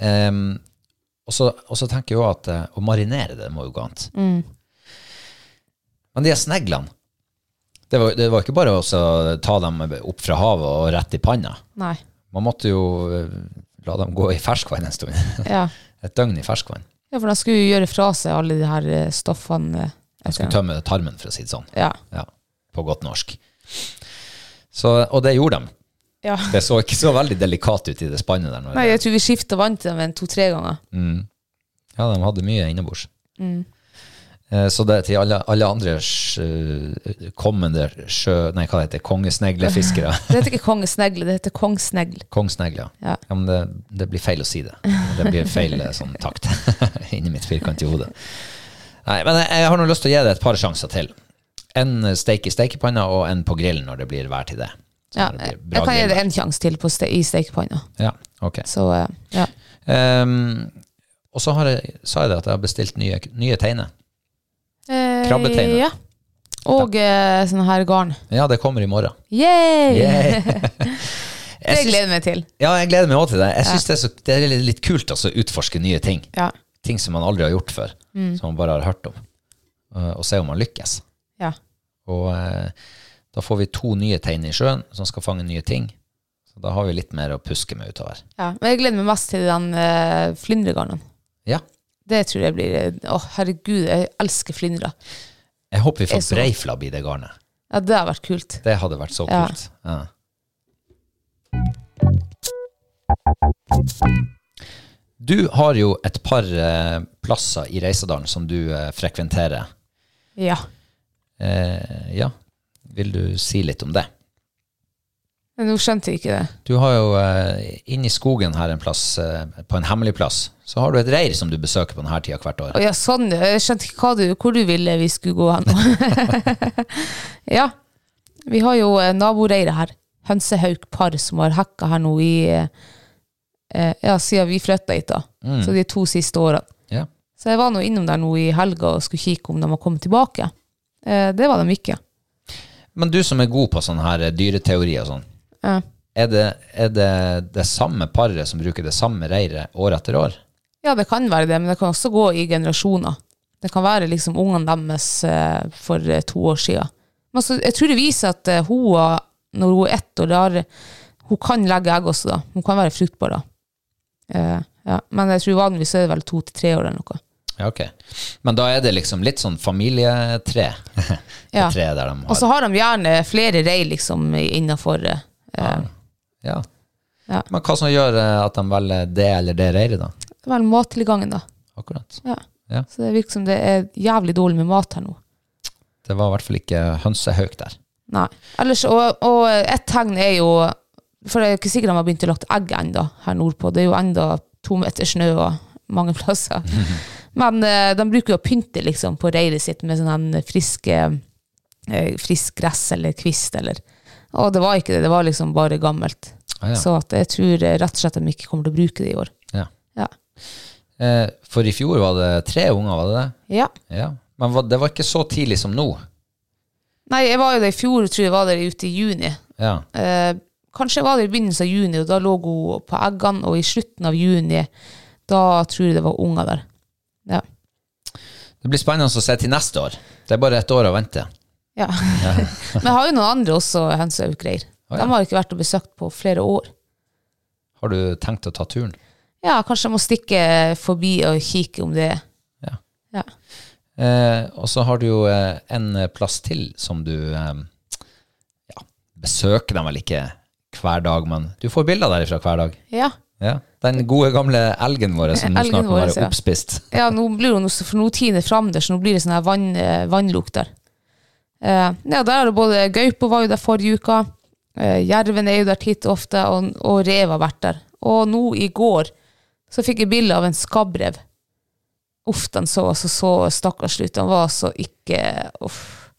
Speaker 2: Ehm, og, så, og så tenker jeg jo at eh, å marinere det må jo gå an. Men de her sneglene det var, det var ikke bare å så ta dem opp fra havet og rett i panna.
Speaker 3: Nei.
Speaker 2: Man måtte jo eh, la dem gå i ferskvann en stund.
Speaker 3: Ja.
Speaker 2: Et døgn i ferskvann.
Speaker 3: ja, for de skulle jo gjøre fra seg alle de her eh, stoffene. eh,
Speaker 2: Man skulle tømme tarmen, for å si det sånn.
Speaker 3: Ja.
Speaker 2: Ja, på godt norsk. Så, og det gjorde de.
Speaker 3: ja.
Speaker 2: Det så ikke så veldig delikat ut i det spannet der. Når
Speaker 3: Nei, jeg tror vi skiftet vann til dem en to-tre ganger.
Speaker 2: Ja, de hadde mye innebords. Eh, Så det er til alle, alle andre sjø, kommende sjø... Nei, hva heter det? Kongesneglefiskere.
Speaker 3: Det heter ikke kongesnegle, det heter kongsnegle.
Speaker 2: Kongsnegle, ja.
Speaker 3: Ja.
Speaker 2: ja men det, det blir feil å si det. Det blir feil eh, sånn takt inni mitt firkantige hode. Nei, men jeg, jeg har nå lyst til å gi det et par sjanser til. En steik i steikepanna og en på grillen når det blir vær til det. Så
Speaker 3: Ja,
Speaker 2: når det
Speaker 3: jeg,
Speaker 2: blir bra
Speaker 3: jeg kan gi
Speaker 2: grill.
Speaker 3: det en sjanse til på ste i steikepanna.
Speaker 2: Ja, ok.
Speaker 3: Så eh, ja.
Speaker 2: Ehm, og så har jeg, sa jeg det at jeg har bestilt nye, nye teiner.
Speaker 3: Eh,
Speaker 2: Krabbeteiner.
Speaker 3: Ja. Og eh, sånn her garn.
Speaker 2: Ja, det kommer i morgen.
Speaker 3: Yay!
Speaker 2: Yay!
Speaker 3: Det
Speaker 2: Jeg syns-
Speaker 3: gleder jeg meg til.
Speaker 2: Ja, jeg gleder meg også til det. Jeg synes det, er så, det er litt kult også, å utforske nye ting.
Speaker 3: Ja.
Speaker 2: ting som man aldri har gjort før,
Speaker 3: Mm.
Speaker 2: som man bare har hørt om, eh, og se om man lykkes.
Speaker 3: Ja.
Speaker 2: Og eh, da får vi to nye teiner i sjøen som skal fange nye ting. Så da har vi litt mer å puske med utover.
Speaker 3: ja. Men jeg gleder meg mest til den uh, flyndregarnen.
Speaker 2: Ja.
Speaker 3: Det tror jeg blir eh, Å, herregud, jeg elsker flyndre.
Speaker 2: Jeg håper vi
Speaker 3: Jeg
Speaker 2: får
Speaker 3: så-
Speaker 2: breiflabb i det garnet.
Speaker 3: Ja, det har vært kult.
Speaker 2: Det hadde vært så
Speaker 3: Ja.
Speaker 2: kult. Ja. Du har jo et par eh, plasser i Reisadalen som du eh, frekventerer.
Speaker 3: Ja.
Speaker 2: Eh, ja, vil du si litt om det?
Speaker 3: Men nå skjønte jeg ikke det.
Speaker 2: Du har jo eh, inni skogen her en plass, eh, på en hemmelig plass, så har du et reir som du besøker på denne tida hvert år.
Speaker 3: Å ja, sånn. ja. Jeg skjønte ikke hva du, hvor du ville vi skulle gå hen. ja. Vi har jo eh, naboreiret her. Hønsehaukpar som har hekka her nå i eh, eh, Ja, siden vi flytta hit, da. Så de to siste årene.
Speaker 2: Ja.
Speaker 3: Så jeg var nå innom der nå i helga og skulle kikke om de har kommet tilbake. Eh, det var de ikke.
Speaker 2: Men du som er god på sånn her eh, dyreteori og sånn,
Speaker 3: Ja.
Speaker 2: er det, er det det samme paret som bruker det samme reiret år etter år?
Speaker 3: Ja, det kan være det, men det kan også gå i generasjoner. Det kan være liksom ungene deres eh, for eh, to år siden. Men altså, jeg tror det viser at eh, hun, har- når hun er ett år, da har- hun kan legge egg også da. Hun kan være fruktbar da. Eh, ja. Men jeg tror vanligvis er det vel to til tre år eller noe.
Speaker 2: Ja, ok. Men da er det liksom litt sånn familietre. Det
Speaker 3: Ja.
Speaker 2: treet der de
Speaker 3: Og
Speaker 2: har.
Speaker 3: så har de gjerne flere rei liksom innenfor. eh, eh,
Speaker 2: Ja.
Speaker 3: Ja.
Speaker 2: Men hva som gjør eh, at de velger det eller det reiret, da?
Speaker 3: det er vel mattilgangen da.
Speaker 2: Akkurat.
Speaker 3: Ja.
Speaker 2: Ja.
Speaker 3: Så det virker som det er jævlig dårlig med mat her nå.
Speaker 2: Det var i hvert fall ikke hønsehauk der.
Speaker 3: Nei. Ellers, og, og et tegn er jo For det er ikke sikkert de har begynt å lagt egg enda her nordpå. Det er jo enda to meter snø og mange plasser. Men eh, de bruker jo å pynte liksom, på reiret sitt med sånn her friske eh, frisk gress eller kvist eller Og det var ikke det, det var liksom bare gammelt.
Speaker 2: Ah, ja.
Speaker 3: Så at jeg tror eh, rett og slett de ikke kommer til å bruke det i år.
Speaker 2: Ja.
Speaker 3: Ja.
Speaker 2: Eh, For i fjor var det tre unger, var det det?
Speaker 3: ja.
Speaker 2: Ja. Men hva- det var ikke så tidlig som nå.
Speaker 3: Nei, jeg var jo der i fjor, tror jeg var der ute i juni.
Speaker 2: Ja.
Speaker 3: Eh, kanskje jeg var det i begynnelsen av juni, og da lå hun på eggene, og i slutten av juni, da tror jeg det var unger der. Ja.
Speaker 2: Det blir spennende å se til neste år. Det er bare et år å vente.
Speaker 3: ja. Men jeg har jo noen andre også, hønsehaugreier.
Speaker 2: Å, ja.
Speaker 3: De har ikke vært og besøkt på flere år.
Speaker 2: Har du tenkt å ta turen?
Speaker 3: Ja, kanskje jeg må stikke forbi og kikke om det er.
Speaker 2: Ja.
Speaker 3: Ja.
Speaker 2: Eh, og så har du jo eh, en plass til som du eh, ja, besøker dem vel ikke hver dag, men du får bilder derifra hver dag.
Speaker 3: Ja.
Speaker 2: Ja. Den gode gamle elgen vår som nå
Speaker 3: Elgen
Speaker 2: snart må
Speaker 3: vår,
Speaker 2: være
Speaker 3: ja.
Speaker 2: oppspist.
Speaker 3: Ja, nå blir hun, for nå tiner fram der, så nå blir det sånn her vann, eh, vannlukt der. Eh, ja, der er det både Gaupo var jo der forrige uka, eh, jerven er jo der titt og ofte, og, og rev har vært der. Og nå i går så fikk jeg bilde av en skabbrev. Uff, den så altså så stakkars ut. Den var altså ikke Uff.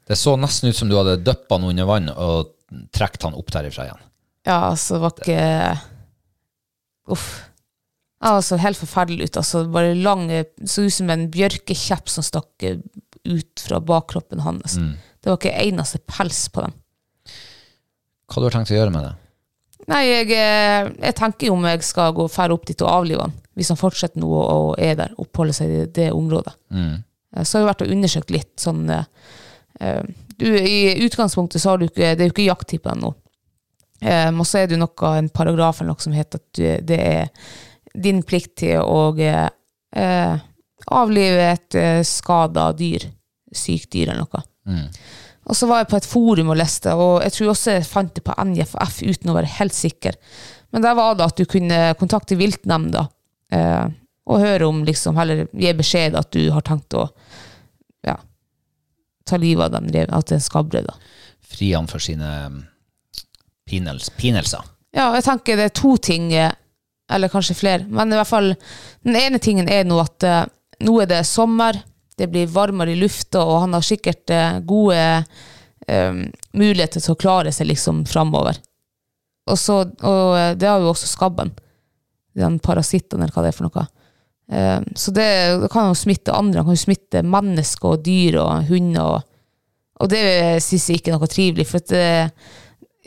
Speaker 2: Det så nesten ut som du hadde døppa han under vann og trukket han opp derifra igjen.
Speaker 3: Ja, altså, det var ikke Uff. Ja, altså, helt forferdelig ut. Altså, bare lang Så ut som en bjørkekjepp som stakk eh, ut fra bakkroppen hans. Det var ikke eneste pels på den.
Speaker 2: Hva du har tenkt å gjøre med det?
Speaker 3: Nei, jeg, eh, jeg tenker jo om jeg skal gå fære opp dit og avlive han, hvis han fortsetter nå og, og er der, oppholder seg i det området. Eh, Så har jeg vært og undersøkt litt sånn eh, eh, du, I utgangspunktet så har du ikke Det er jo ikke jakttid på den nå. Um, og så er det jo noe, en paragraf eller noe som heter at du, det er din plikt til å eh, eh, avlive et eh, skada dyr, sykt dyr eller noe. Og så var jeg på et forum og leste, og jeg tror også jeg fant det på NJFF uten å være helt sikker. Men der var det at du kunne kontakte viltnemnda eh, og høre om liksom, eller gi beskjed at du har tenkt å ja, ta livet av den reven, at det er en skabbre, da.
Speaker 2: Fri han for sine mm, pinels, pinelser.
Speaker 3: Ja, jeg tenker det er to ting, eh, eller kanskje flere, men i hvert fall den ene tingen er nå at eh, nå er det sommer, det blir varmere i lufta, og han har sikkert eh, gode eh, muligheter til å klare seg liksom framover. Og, så, og eh, det har jo også skabben, den parasitten eller hva det er for noe. Eh, så det, det kan jo smitte andre, han kan jo smitte mennesker og dyr og hunder, og, og det synes jeg ikke er noe trivelig, for at eh,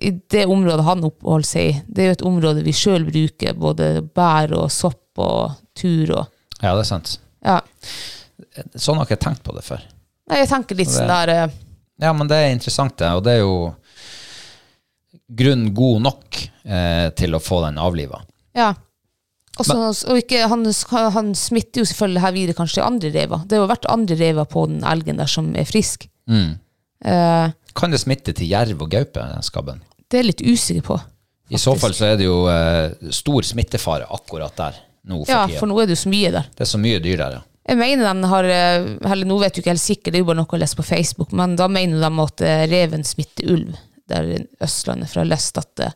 Speaker 3: det i det området han oppholder seg i, det er jo et område vi sjøl bruker, både bær og sopp og tur og
Speaker 2: Ja, det er sant.
Speaker 3: Ja.
Speaker 2: Sånn har jeg ikke tenkt på det før.
Speaker 3: Nei, Jeg tenker litt sånn der eh,
Speaker 2: Ja, men det er interessant, det. Og det er jo grunn god nok eh, til å få den avliva.
Speaker 3: Ja. Og så- og ikke, han, han smitter jo selvfølgelig her videre kanskje til andre rever. Det har jo vært andre rever på den elgen der som er frisk. Eh,
Speaker 2: Kan det smitte til jerv og gaupe, den skabben?
Speaker 3: det er jeg litt usikker på.
Speaker 2: I så fall så er det jo eh, stor smittefare akkurat der nå for
Speaker 3: Ja,
Speaker 2: tida.
Speaker 3: for nå er det jo så mye der.
Speaker 2: Det er så mye dyr der, ja.
Speaker 3: Jeg mener den har eh, Eller nå vet du ikke helt sikkert, det er jo bare noe å lese på Facebook, men da mener de at eh, reven smitter ulv der i Østlandet, for jeg har lest at eh,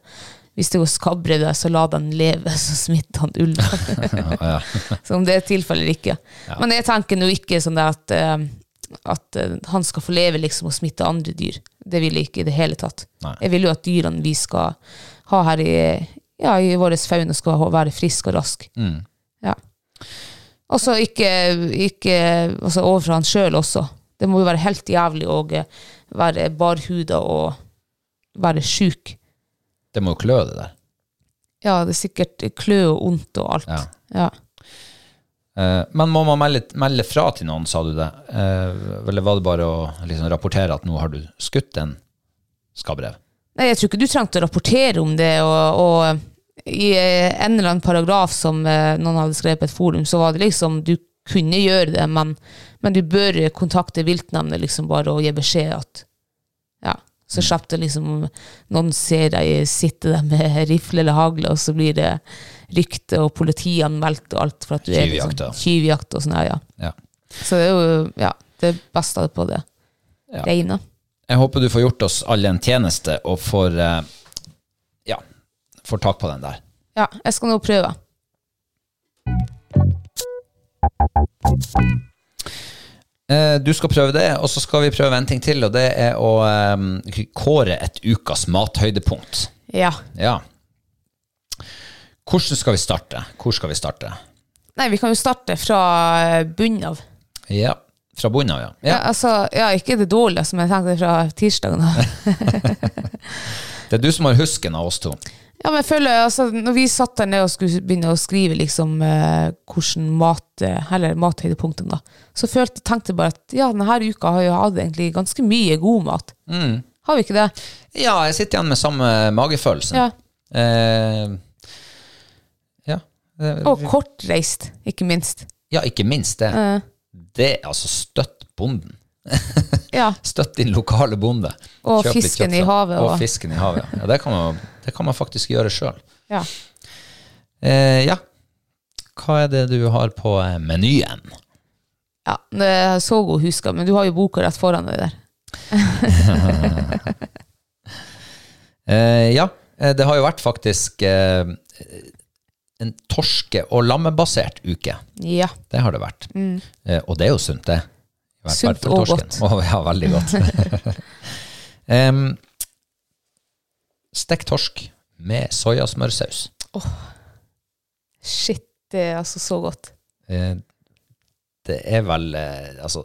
Speaker 3: hvis det går skabbre der, så la den leve, så smitter han ulven. så om det er tilfellet eller ikke. Men jeg tenker nå ikke sånn der at, eh, at eh, han skal få leve liksom og smitte andre dyr. Det vil jeg ikke i det hele tatt.
Speaker 2: Nei.
Speaker 3: Jeg vil jo at dyrene vi skal ha her i, ja, i vår fauna, skal ha- være friske og raske. Ja. Og så ikke, ikke altså overfor han sjøl også. Det må jo være helt jævlig å eh, være barhuda og være sjuk.
Speaker 2: Det må jo klø, det der.
Speaker 3: Ja, det er sikkert klø og vondt og alt.
Speaker 2: Ja.
Speaker 3: Ja.
Speaker 2: Eh, men må man melde, melde fra til noen, sa du det? Eh, eller var det bare å liksom, rapportere at nå har du skutt en skabbrev?
Speaker 3: Nei, jeg tror ikke du trengte å rapportere om det, og, og i eh, en eller annen paragraf som eh, noen hadde skrevet på et forum, så var det liksom du kunne gjøre det, men, men du bør kontakte viltnemndene liksom bare og gi beskjed at ja,
Speaker 2: Mm.
Speaker 3: så slapp det liksom noen ser deg sitte der med rifle eller hagle, og så blir det rykte og politianmeldt og alt for at du er liksom,
Speaker 2: Tyvjakt, ja.
Speaker 3: tyvjakt og sånn, ja, ja.
Speaker 2: Ja.
Speaker 3: Så det er jo ja, det beste på det.
Speaker 2: Ja.
Speaker 3: Reine.
Speaker 2: Jeg håper du får gjort oss alle en tjeneste og får, eh, ja, får tak på den der.
Speaker 3: Ja, jeg skal nå prøve.
Speaker 2: Eh, Du skal prøve det, og så skal vi prøve en ting til, og det er å eh, kåre et ukas mathøydepunkt.
Speaker 3: Ja.
Speaker 2: Ja. Hvordan skal vi starte? Hvor skal vi starte?
Speaker 3: Nei, vi kan jo starte fra eh, bunnen av.
Speaker 2: Ja, fra bunnen av, ja.
Speaker 3: Ja.
Speaker 2: ja.
Speaker 3: altså, ja, ikke det dårlige, som jeg tenkte fra tirsdagen. av.
Speaker 2: Det er du som har husken av oss to.
Speaker 3: Ja, men jeg føler, altså, når vi satt der nede og skulle begynne å skrive liksom, eh, hvordan mat, eh, eller mathøydepunktene, da, så følte, tenkte jeg bare at ja, denne uka har jo hatt egentlig ganske mye god mat. Har vi ikke det?
Speaker 2: Ja, jeg sitter igjen med samme magefølelsen.
Speaker 3: Ja.
Speaker 2: Eh, ja. Eh,
Speaker 3: Og kortreist, ikke minst.
Speaker 2: ja, ikke minst det. Det er altså støtt bonden.
Speaker 3: Ja,
Speaker 2: Støtt din lokale bonde.
Speaker 3: Og
Speaker 2: litt
Speaker 3: fisken
Speaker 2: kjøtt
Speaker 3: i
Speaker 2: fra-
Speaker 3: havet,
Speaker 2: Og
Speaker 3: og-
Speaker 2: fisken i havet, ja. ja det, kan man, det kan man faktisk gjøre sjøl.
Speaker 3: ja.
Speaker 2: Eh, ja. Hva er det du har på eh, menyen?
Speaker 3: ja det er så god huska, men du har jo boka rett foran deg der.
Speaker 2: Eh, ja, eh, det har jo vært faktisk eh, en torske- og lammebasert uke.
Speaker 3: Ja.
Speaker 2: Det har det vært. Eh, og det er jo sunt, det. I hvert fall
Speaker 3: Mm. Sunt
Speaker 2: for
Speaker 3: og
Speaker 2: torsken.
Speaker 3: godt.
Speaker 2: Å, ja, veldig godt. Em, Stekt torsk med soyasmørsaus.
Speaker 3: Shit, det er altså så godt.
Speaker 2: Eh, det er vel eh, altså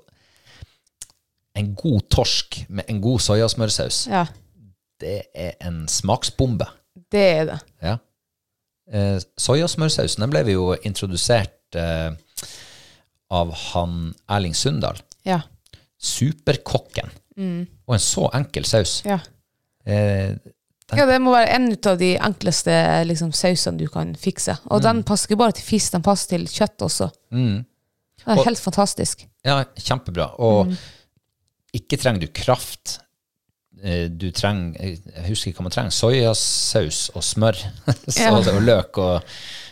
Speaker 2: En god torsk med en god soyasmørsaus,
Speaker 3: Ja,
Speaker 2: det er en smaksbombe.
Speaker 3: det er det.
Speaker 2: Ja. Eh, Soyasmørsausen den ble vi jo introdusert eh, av han Erling Sundal,
Speaker 3: Ja,
Speaker 2: superkokken. Og en så enkel saus.
Speaker 3: ja.
Speaker 2: Eh,
Speaker 3: Ja, det må være en ut av de enkleste liksom, sausene du kan fikse. Og
Speaker 2: Mm.
Speaker 3: den passer ikke bare til fisk, den passer til kjøtt også. Den er
Speaker 2: Og-
Speaker 3: helt fantastisk.
Speaker 2: ja, kjempebra. Og ikke trenger du kraft. Eh, Du trenger Jeg husker ikke hva man trenger. Soyasaus og smør så,
Speaker 3: Ja.
Speaker 2: og løk og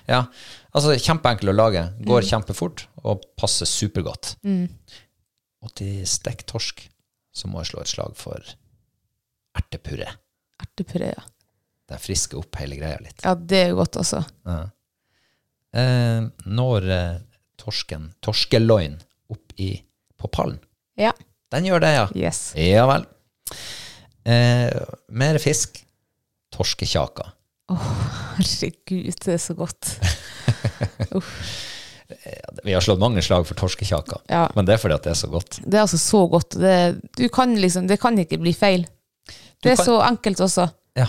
Speaker 2: Ja. Altså, kjempeenkel å lage. Går kjempefort og passer supergodt. Og til stekt torsk så må jeg slå et slag for ertepuré.
Speaker 3: Ertepuré, ja.
Speaker 2: Den frisker opp hele greia litt.
Speaker 3: Ja, det er godt, altså.
Speaker 2: Ja. Eh, når eh, torsken, torskeloin, opp i, på pallen.
Speaker 3: Ja.
Speaker 2: Den gjør det, ja.
Speaker 3: Yes.
Speaker 2: Ja vel. Eh, mer fisk. Torskekjaka.
Speaker 3: Herregud, det er så godt.
Speaker 2: Vi har slått mange slag for torskekjaka,
Speaker 3: Ja.
Speaker 2: men det er fordi at det er så godt.
Speaker 3: Det er altså så godt. og Det, du kan liksom, det kan ikke bli feil. Det er
Speaker 2: kan-
Speaker 3: så enkelt også.
Speaker 2: Ja.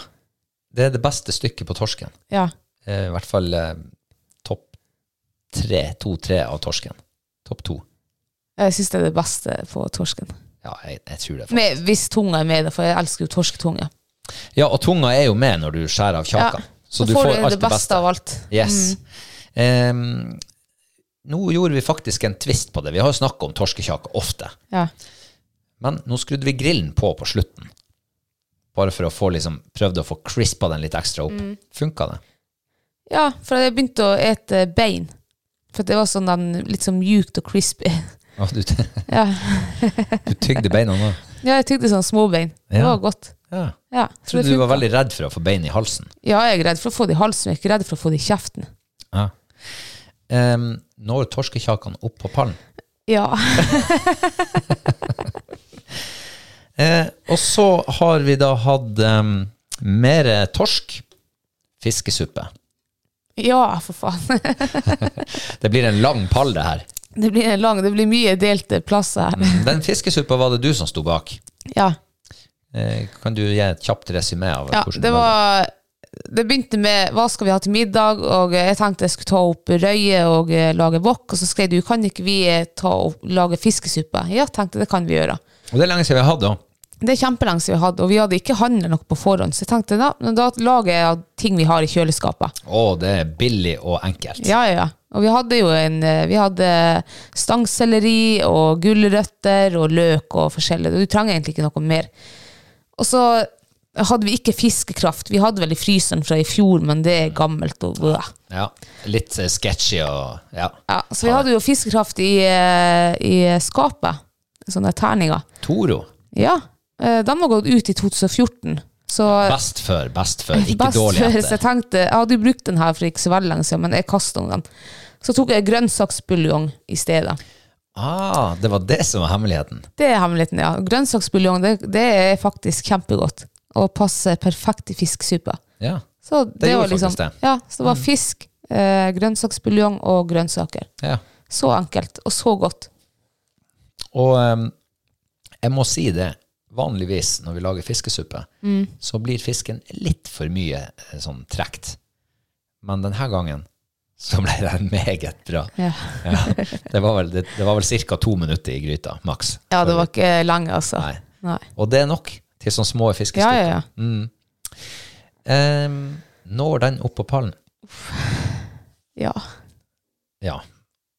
Speaker 2: Det er det beste stykket på torsken.
Speaker 3: Ja.
Speaker 2: Eh, I hvert fall eh, topp tre, to-tre av torsken. Topp to.
Speaker 3: Jeg syns det er det beste på torsken.
Speaker 2: Ja, jeg, jeg tror det.
Speaker 3: Med, hvis tunga er med, da, for jeg elsker jo torsketunge.
Speaker 2: Ja, og tunga er jo med når du skjærer av kjaka. Så, du får, alt
Speaker 3: det beste av alt.
Speaker 2: Yes. Mm. Em, nå gjorde vi faktisk en twist på det. Vi har jo snakka om torskekjake ofte.
Speaker 3: Ja.
Speaker 2: Men nå skrudde vi grillen på på slutten. Bare for å få liksom, prøvd å få crispa den litt ekstra opp.
Speaker 3: Mm.
Speaker 2: Funka det?
Speaker 3: ja, for jeg begynte å ete bein. For det var sånn den, litt sånn mjukt og crispy.
Speaker 2: Å, du, du
Speaker 3: Ja,
Speaker 2: tygde beina nå?
Speaker 3: ja jeg tygde sånn småbein. Det
Speaker 2: Ja.
Speaker 3: var godt.
Speaker 2: Ja.
Speaker 3: Ja, så
Speaker 2: Trodde
Speaker 3: det
Speaker 2: du var
Speaker 3: funka.
Speaker 2: veldig redd for å få bein i halsen.
Speaker 3: ja, jeg er redd for å få det i halsen, jeg er ikke redd for å få det i kjeften.
Speaker 2: Ja. Um, når torskekjakene opp på pallen.
Speaker 3: Ja.
Speaker 2: Eh, og så har vi da hatt em, mer torsk. Fiskesuppe.
Speaker 3: ja, for faen.
Speaker 2: Det blir en lang pall, det her.
Speaker 3: Det blir en lang, det blir mye delte plasser her.
Speaker 2: Den fiskesuppa var det du som sto bak.
Speaker 3: Ja.
Speaker 2: Eh, kan du gi et kjapt resymé av
Speaker 3: Ja,
Speaker 2: hvordan
Speaker 3: det var Det begynte med hva skal vi ha til middag, og eh, jeg tenkte jeg skulle ta opp røye og eh, lage wok, og så skrev du kan ikke vi eh, ta og lage fiskesuppe? Ja, tenkte jeg, det kan vi gjøre.
Speaker 2: Og det er lenge siden vi har hatt det. også.
Speaker 3: Det er kjempelenge siden vi hadde, og vi hadde ikke handla noe på forhånd, så jeg tenkte da, men da lager jeg av ting vi har i kjøleskapet.
Speaker 2: Å, det er billig og enkelt.
Speaker 3: Ja, ja, ja. Og vi hadde jo en eh, Vi hadde stangselleri og gulrøtter og løk og forskjellig, og du trenger egentlig ikke noe mer. Og så hadde vi ikke fiskekraft. Vi hadde vel i fryseren fra i fjor, men det er gammelt. og øh.
Speaker 2: Ja, Litt eh, sketchy og ja.
Speaker 3: Ja, så vi hadde jo fiskekraft i, eh, i skapet. Sånne terninger.
Speaker 2: Toro.
Speaker 3: Ja. eh, Den var gått ut i 2014. Så
Speaker 2: Best før, best før. Ikke
Speaker 3: best
Speaker 2: dårlig
Speaker 3: før, så
Speaker 2: etter.
Speaker 3: jeg tenkte Jeg hadde jo brukt den her for ikke så veldig lenge siden, men jeg kastet den. Så tok jeg grønnsaksbuljong i stedet.
Speaker 2: Ah, det var det som var hemmeligheten.
Speaker 3: Det er hemmeligheten, ja. Grønnsaksbuljong det, det er faktisk kjempegodt. Og passer perfekt i fiskesuppe.
Speaker 2: Ja.
Speaker 3: Så det,
Speaker 2: gjorde
Speaker 3: var liksom,
Speaker 2: faktisk det. Mm.
Speaker 3: Ja, så det var fisk, eh, grønnsaksbuljong og grønnsaker.
Speaker 2: ja.
Speaker 3: Så enkelt, og så godt.
Speaker 2: Og em, jeg må si det. Vanligvis når vi lager fiskesuppe,
Speaker 3: Mm.
Speaker 2: så blir fisken litt for mye eh, sånn trekt. Men denne gangen så ble den meget bra.
Speaker 3: Ja.
Speaker 2: Ja, det var vel, det, det var vel ca. to minutter i gryta, maks.
Speaker 3: Ja, det var ikke lenge, altså.
Speaker 2: Nei.
Speaker 3: Nei.
Speaker 2: Og det er nok til sånne små
Speaker 3: Ja,
Speaker 2: fiskestykker.
Speaker 3: ja, ja.
Speaker 2: Mm. Em, når den opp på pallen,
Speaker 3: ja.
Speaker 2: ja,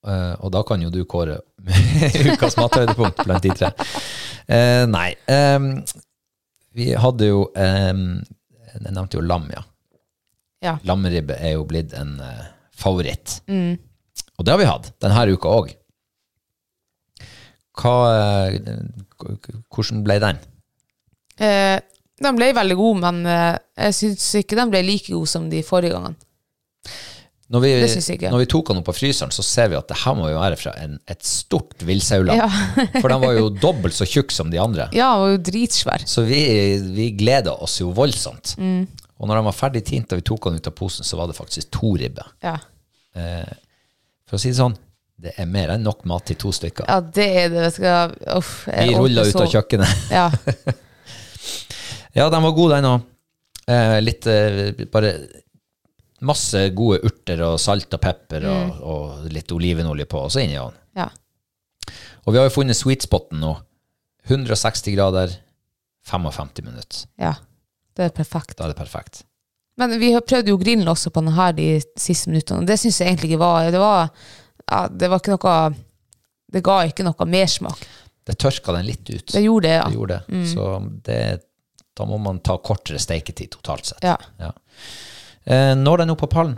Speaker 2: Eh, og da kan jo du kåre ukas mathøydepunkt blant de tre. Eh, nei, em, vi hadde jo, em, jeg nevnte jo lam, ja.
Speaker 3: Ja.
Speaker 2: Lammeribbe er jo blitt en eh, favoritt.
Speaker 3: Mm.
Speaker 2: Og det har vi hatt denne uka òg. Hvordan ble den?
Speaker 3: Eh, den ble veldig god, men eh, jeg syns ikke den ble like god som de forrige gangene.
Speaker 2: Når vi,
Speaker 3: Det synes jeg ikke.
Speaker 2: når vi tok han opp av fryseren, så ser vi at det her må jo være fra en, et stort villsauland.
Speaker 3: Ja.
Speaker 2: For den var jo dobbelt så tjukk som de andre.
Speaker 3: Ja, den var jo dritsvær.
Speaker 2: Så vi, vi gleda oss jo voldsomt.
Speaker 3: Mm.
Speaker 2: Og når den var ferdig tint og vi tok den ut av posen, så var det faktisk to ribber.
Speaker 3: Ja.
Speaker 2: For å si det sånn, det er mer enn nok mat til to stykker.
Speaker 3: ja, det er det. Jeg skal, uff, jeg
Speaker 2: vi
Speaker 3: orker
Speaker 2: rulla ut
Speaker 3: så-
Speaker 2: av kjøkkenet.
Speaker 3: Ja.
Speaker 2: Ja, den var god, den òg. Eh, litt eh, bare Masse gode urter og salt og pepper
Speaker 3: Mm.
Speaker 2: og, og litt olivenolje på, og så inn i ovnen.
Speaker 3: ja.
Speaker 2: Og vi har jo funnet sweet spoten nå. 160 grader, 55 minutter.
Speaker 3: ja. Det er perfekt.
Speaker 2: Da er det perfekt.
Speaker 3: Men vi har prøvd jo grillen også på den her de siste minuttene, og det syns jeg egentlig ikke var Det var, ja, det var ikke noe Det ga ikke noe mersmak.
Speaker 2: Det tørka den litt ut.
Speaker 3: Det gjorde det, ja.
Speaker 2: Det gjorde det.
Speaker 3: Mm.
Speaker 2: Så det, da må man ta kortere steiketid totalt sett.
Speaker 3: ja.
Speaker 2: Eh, når den opp på pallen?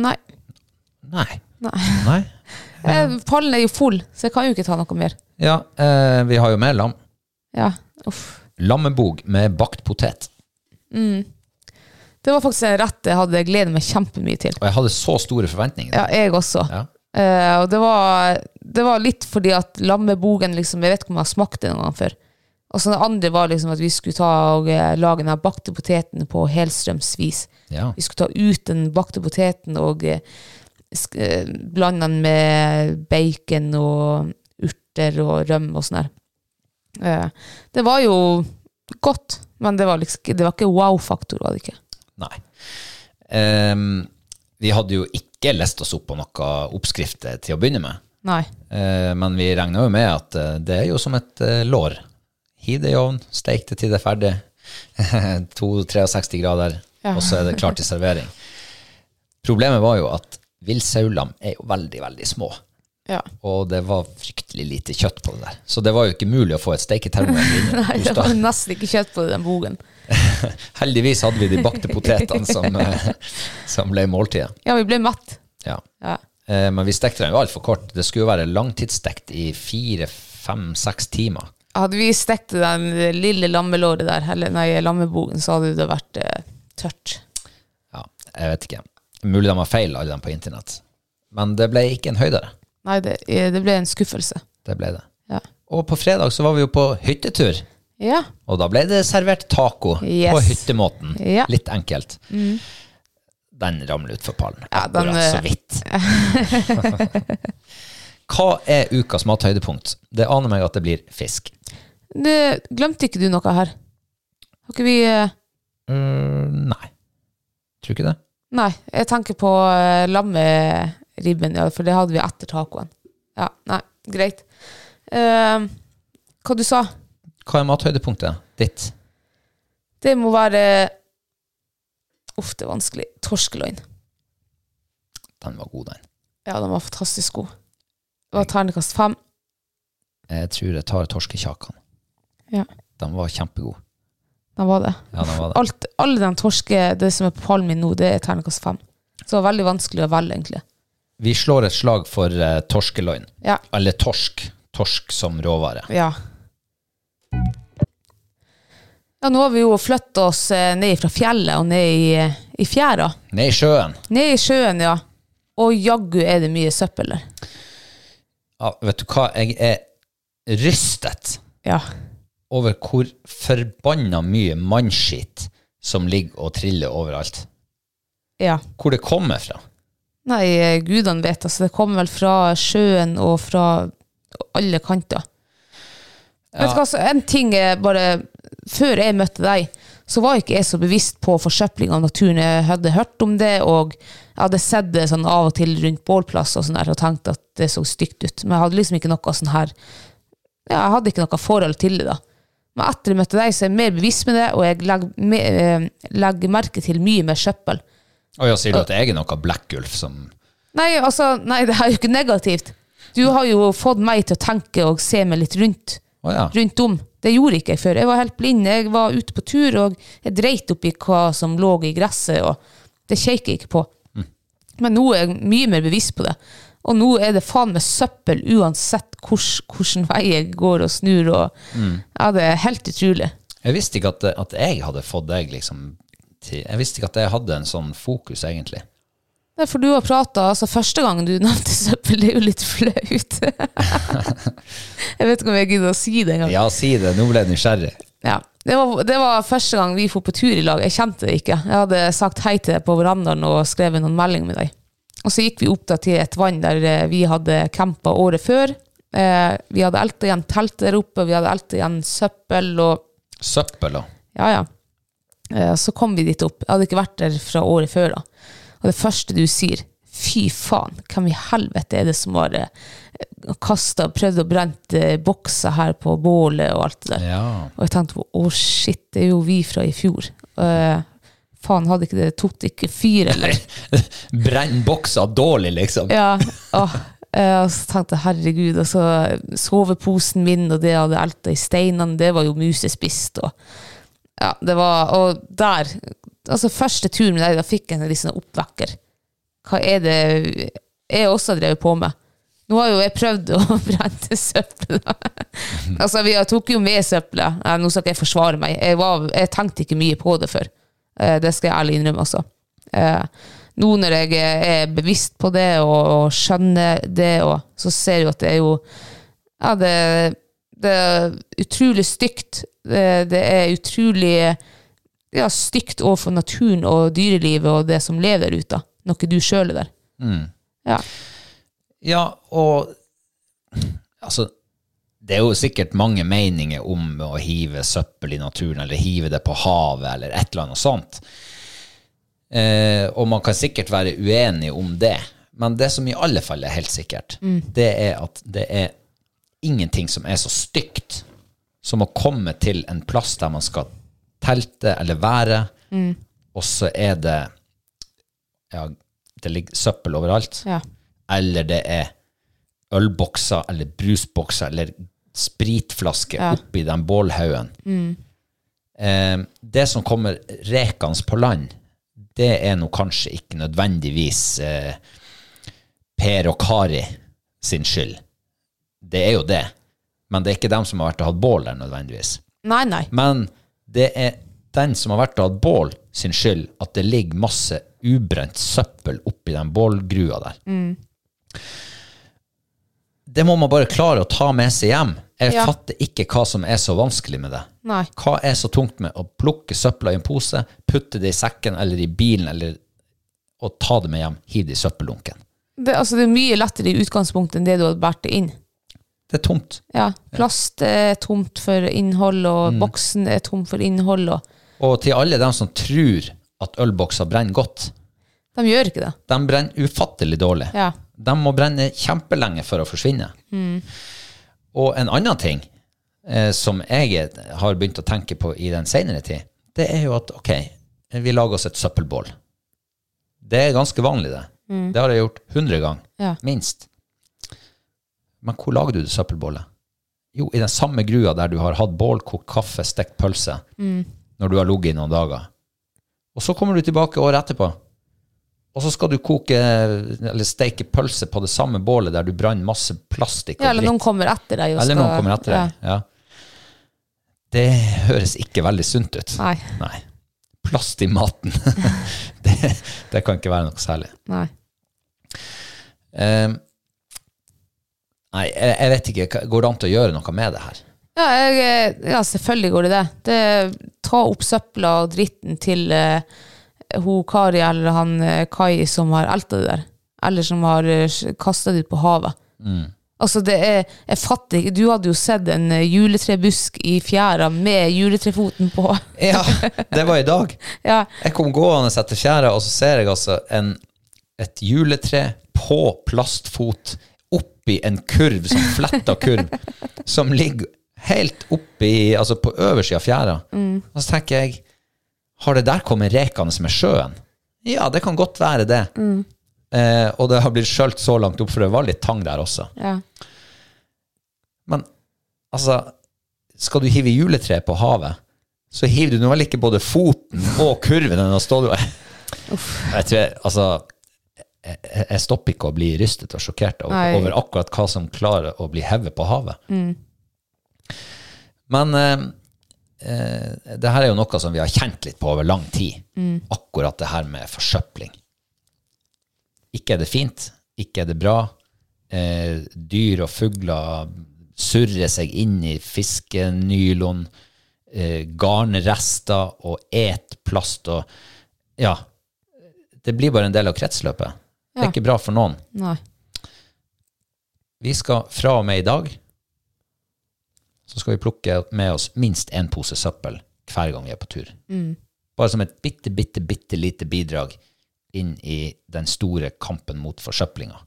Speaker 3: Nei.
Speaker 2: Nei.
Speaker 3: Nei.
Speaker 2: Nei.
Speaker 3: Eh, Pallen er jo full, så jeg kan jo ikke ta noe mer.
Speaker 2: Ja, eh, vi har jo med lam.
Speaker 3: Ja, uff.
Speaker 2: Lammebog med bakt potet.
Speaker 3: Det var faktisk en rett jeg hadde gledet meg kjempemye til.
Speaker 2: Og jeg hadde så store forventninger.
Speaker 3: Ja, jeg også.
Speaker 2: Ja.
Speaker 3: Eh, og det var, det var litt fordi at lammebogen liksom, Jeg vet ikke om jeg har smakt det noen gang før. Og så det andre var liksom at vi skulle ta og eh, lage den her bakte poteten på helstrømsvis.
Speaker 2: Ja.
Speaker 3: Vi skulle ta ut den bakte poteten og eh, sk eh, blande den med bacon og urter og rømme og sånn her. Eh, det var jo godt, men det var, liksom, ikke- det var ikke wow-faktor, var det ikke?
Speaker 2: Nei. Ehm, vi hadde jo ikke lest oss opp på noen oppskrifter til å begynne med.
Speaker 3: Nei.
Speaker 2: Eh, men vi regner jo med at eh, det er jo som et eh, lår. Hiv det i ovnen, steik det til det er ferdig. 2-63 grader,
Speaker 3: Ja.
Speaker 2: og så er det klart til servering. Problemet var jo at villsaulam er jo veldig, veldig små.
Speaker 3: Ja.
Speaker 2: Og det var fryktelig lite kjøtt på det der. Så det var jo ikke mulig å få et steiketermometer inn.
Speaker 3: Nei,
Speaker 2: i
Speaker 3: det var
Speaker 2: torsdag.
Speaker 3: nesten ikke kjøtt på den bogen.
Speaker 2: Heldigvis hadde vi de bakte potetene som, eh, som ble måltidet.
Speaker 3: Ja, vi ble matt.
Speaker 2: Ja.
Speaker 3: Ja.
Speaker 2: Eh, Men vi stekte den jo altfor kort. Det skulle jo være langtidsstekt i fire, fem, seks timer.
Speaker 3: Hadde vi stekt den lille lammelåret der, eller nei, lammebogen, så hadde det vært eh, tørt.
Speaker 2: Ja, jeg vet ikke. Mulig de har feil, alle dem på internett. Men det ble ikke en høydere.
Speaker 3: Nei, det, eh, det ble en skuffelse.
Speaker 2: Det ble det.
Speaker 3: Ja.
Speaker 2: Og på fredag så var vi jo på hyttetur,
Speaker 3: Ja.
Speaker 2: og da ble det servert taco
Speaker 3: Yes.
Speaker 2: på hyttemåten.
Speaker 3: Ja. Mm.
Speaker 2: Litt enkelt. Den ramler utfor pallen.
Speaker 3: Ja, den,
Speaker 2: Akkurat så
Speaker 3: eh,
Speaker 2: vidt. Hva er ukas mathøydepunkt? Det aner meg at det blir fisk.
Speaker 3: Det, glemte ikke du noe her? Har ikke vi eh,
Speaker 2: Mm, nei. Tror ikke det.
Speaker 3: Nei, jeg tenker på eh, lammeribben, ja, for det hadde vi etter tacoen. Ja, nei, greit. Uh, hva du sa?
Speaker 2: Hva er mathøydepunktet ditt?
Speaker 3: Det må være Uff, det er vanskelig. Torskeløgn.
Speaker 2: Den var god, den.
Speaker 3: Ja, den var fantastisk god. Det var ternekast fem.
Speaker 2: Jeg tror jeg tar torskekjakan.
Speaker 3: Ja.
Speaker 2: Den var kjempegod.
Speaker 3: Den var det.
Speaker 2: Ja, den var det.
Speaker 3: Alt, alle de torske, det som er på pallen min nå, det er ternekast fem. Så det var veldig vanskelig å velge, egentlig.
Speaker 2: Vi slår et slag for uh, torskeløgn.
Speaker 3: Ja.
Speaker 2: Eller torsk. Torsk som råvare.
Speaker 3: Ja. Ja, nå har vi jo flytta oss eh, ned fra fjellet og ned i, eh, i fjæra.
Speaker 2: Ned i sjøen.
Speaker 3: Ned i sjøen, ja. Og jaggu er det mye søppel der.
Speaker 2: Ja, vet du hva, jeg er rystet
Speaker 3: Ja.
Speaker 2: over hvor forbanna mye mannskitt som ligger og triller overalt.
Speaker 3: ja.
Speaker 2: Hvor det kommer fra.
Speaker 3: Nei, eh, gudene vet, altså. Det kommer vel fra sjøen og fra alle kanter. Vet du hva, så en ting er bare Før jeg møtte deg, så var ikke jeg så bevisst på forsøpling av naturen. Jeg hadde hørt om det, og jeg hadde sett det sånn av og til rundt bålplass og sånn der, og tenkt at det så stygt ut. Men jeg hadde liksom ikke noe sånn her ja, Jeg hadde ikke noe forhold til det, da. Men etter jeg møtte deg, så er jeg mer bevisst med det, og jeg legger, me, eh, legger merke til mye mer søppel.
Speaker 2: Og ja, sier du at jeg er noe Blekkulf som
Speaker 3: Nei, altså, nei, det er jo ikke negativt. Du har jo fått meg til å tenke og se meg litt rundt.
Speaker 2: Å ja.
Speaker 3: Rundt om. Det gjorde ikke jeg før. Jeg var helt blind. Jeg var ute på tur, og jeg dreit oppi hva som lå i gresset, og det kjekk jeg ikke på. Men nå er jeg mye mer bevisst på det. Og nå er det faen meg søppel uansett hors, hvilken vei jeg går og snur. Og, Ja, det er helt utrolig.
Speaker 2: Jeg visste ikke at, at jeg hadde fått deg liksom til Jeg visste ikke at jeg hadde en sånn fokus, egentlig.
Speaker 3: Nei, for du har prata altså, Første gangen du nevnte søppel, det er jo litt flaut. jeg vet ikke om jeg gidder å si det engang.
Speaker 2: Ja, si det. Nå ble jeg nysgjerrig.
Speaker 3: Ja. Det var, det var første gang vi dro på tur i lag. Jeg kjente det ikke. Jeg hadde sagt hei til deg på verandaen og skrevet noen meldinger med deg. Og så gikk vi opp da til et vann der eh, vi hadde campa året før. Eh, vi hadde elta igjen telt der oppe, vi hadde elta igjen søppel og
Speaker 2: Søppel og
Speaker 3: Ja, ja. Eh, så kom vi dit opp. Jeg hadde ikke vært der fra året før, da. Og det første du sier, fy faen, hvem i helvete er det som har kasta, prøvd å brenne eh, bokser her på bålet og alt det der?
Speaker 2: Ja.
Speaker 3: Og jeg tenkte på, å shit, det er jo vi fra i fjor. Eh, faen, hadde ikke det, tok det ikke fyr, eller?
Speaker 2: Brenn bokser dårlig, liksom.
Speaker 3: ja, åh. Eh, og så tenkte jeg, herregud, og så soveposen min, og det jeg hadde elta i steinene, det var jo musespist, og ja, det var, og der, altså første turen med deg, da fikk jeg en litt sånn oppvekker. Hva er det jeg også har drevet på med? Nå har jo jeg prøvd å brenne søppel. altså, vi har- tok jo med søppelet. Eh, Nå skal ikke jeg forsvare meg. Jeg, var, jeg tenkte ikke mye på det før. Eh, Det skal jeg ærlig innrømme, altså. Eh, Nå når jeg er bevisst på det og, og skjønner det, og, så ser jeg jo at det er jo ja, det, det er utrolig stygt. Det, det er utrolig ja, stygt overfor naturen og dyrelivet og det som lever der ute. Noe du sjøl er der. Ja.
Speaker 2: Ja, og Altså, det er jo sikkert mange meninger om å hive søppel i naturen, eller hive det på havet, eller et eller annet sånt. Eh, og man kan sikkert være uenig om det, Men det som i alle fall er helt sikkert, det er at det er ingenting som er så stygt som å komme til en plass der man skal telte eller være, og så er det ja, det ligger søppel overalt,
Speaker 3: Ja.
Speaker 2: eller det er ølbokser eller brusbokser eller spritflasker oppi den bålhaugen. Eh, det som kommer rekende på land, det er nå kanskje ikke nødvendigvis eh, Per og Kari sin skyld. Det er jo det. Men det er ikke dem som har vært og hatt bål der, nødvendigvis.
Speaker 3: Nei, nei.
Speaker 2: Men det er den som har vært og hatt bål, sin skyld at det ligger masse ubrent søppel oppi den bålgrua der. Det må man bare klare å ta med seg hjem. Jeg
Speaker 3: Ja.
Speaker 2: fatter ikke hva som er så vanskelig med det.
Speaker 3: Nei.
Speaker 2: Hva er så tungt med å plukke søpla i en pose, putte det i sekken eller i bilen, eller, og ta det med hjem, hive det i søppeldunken?
Speaker 3: Det, altså, det er mye lettere i utgangspunktet enn det du hadde båret det inn.
Speaker 2: Det er tomt.
Speaker 3: Ja. Plast er tomt for innhold, og boksen er tom for innhold, og
Speaker 2: Og til alle dem som tror at ølbokser brenner godt,
Speaker 3: de gjør ikke det.
Speaker 2: de brenner ufattelig dårlig.
Speaker 3: Ja.
Speaker 2: De må brenne kjempelenge for å forsvinne. Og en annen ting eh, som jeg har begynt å tenke på i den senere tid, det er jo at ok, vi lager oss et søppelbål. Det er ganske vanlig, det. Det har jeg gjort hundre ganger,
Speaker 3: Ja.
Speaker 2: minst. Men hvor lager du det søppelbålet? Jo, i den samme grua der du har hatt bål, kokt kaffe, stekt pølse,
Speaker 3: Mm.
Speaker 2: når du har ligget i noen dager. Og så kommer du tilbake året etterpå. Og så skal du koke eller steike pølse på det samme bålet der du brant masse plastikk og
Speaker 3: ja, eller
Speaker 2: dritt.
Speaker 3: noen kommer etter deg. og
Speaker 2: Eller
Speaker 3: skal-
Speaker 2: noen kommer etter deg. Ja. Det høres ikke veldig sunt ut.
Speaker 3: Ja. Nei.
Speaker 2: Nei. Plast i maten. det, det kan ikke være noe særlig.
Speaker 3: Nei.
Speaker 2: Ehm, nei, jeg, jeg vet ikke. hva- Går det an til å gjøre noe med det her?
Speaker 3: Ja, jeg, ja, selvfølgelig går det det. det. Ta opp søpla og dritten til eh, hun Kari eller han eh, Kai som har elta det der. Eller som har uh, kasta det ut på havet.
Speaker 2: Mm.
Speaker 3: Altså, det er Jeg fatter ikke Du hadde jo sett en eh, juletrebusk i fjæra med juletrefoten på.
Speaker 2: Ja, det var i dag.
Speaker 3: ja,
Speaker 2: Jeg kom gående etter fjæra, og så ser jeg altså en, et juletre på plastfot oppi en kurv, sånn fletta kurv, som ligger helt oppi, altså på øversida av fjæra. Og så tenker jeg, har det der kommet rekende med sjøen? Ja, det kan godt være det. Eh, og det har blitt skjølt så langt opp, for det var litt tang der også.
Speaker 3: ja.
Speaker 2: Men altså, skal du hive juletre på havet, så hiver du nå vel ikke både foten og kurven enn å stå der. Jeg tror jeg, altså, jeg, jeg- jeg stopper ikke å bli rystet og sjokkert over,
Speaker 3: Nei.
Speaker 2: over akkurat hva som klarer å bli hevet på havet. Men eh, eh, det her er jo noe som vi har kjent litt på over lang tid, akkurat det her med forsøpling. Ikke er det fint, ikke er det bra. Eh, dyr og fugler surrer seg inn i fiskenylon, eh, garnrester og et plast og Ja. Det blir bare en del av kretsløpet. Det er
Speaker 3: Ja.
Speaker 2: ikke bra for noen.
Speaker 3: Nei.
Speaker 2: Vi skal fra og med i dag så skal vi plukke med oss minst én pose søppel hver gang vi er på tur. Bare som et bitte, bitte, bitte lite bidrag inn i den store kampen mot forsøplinga.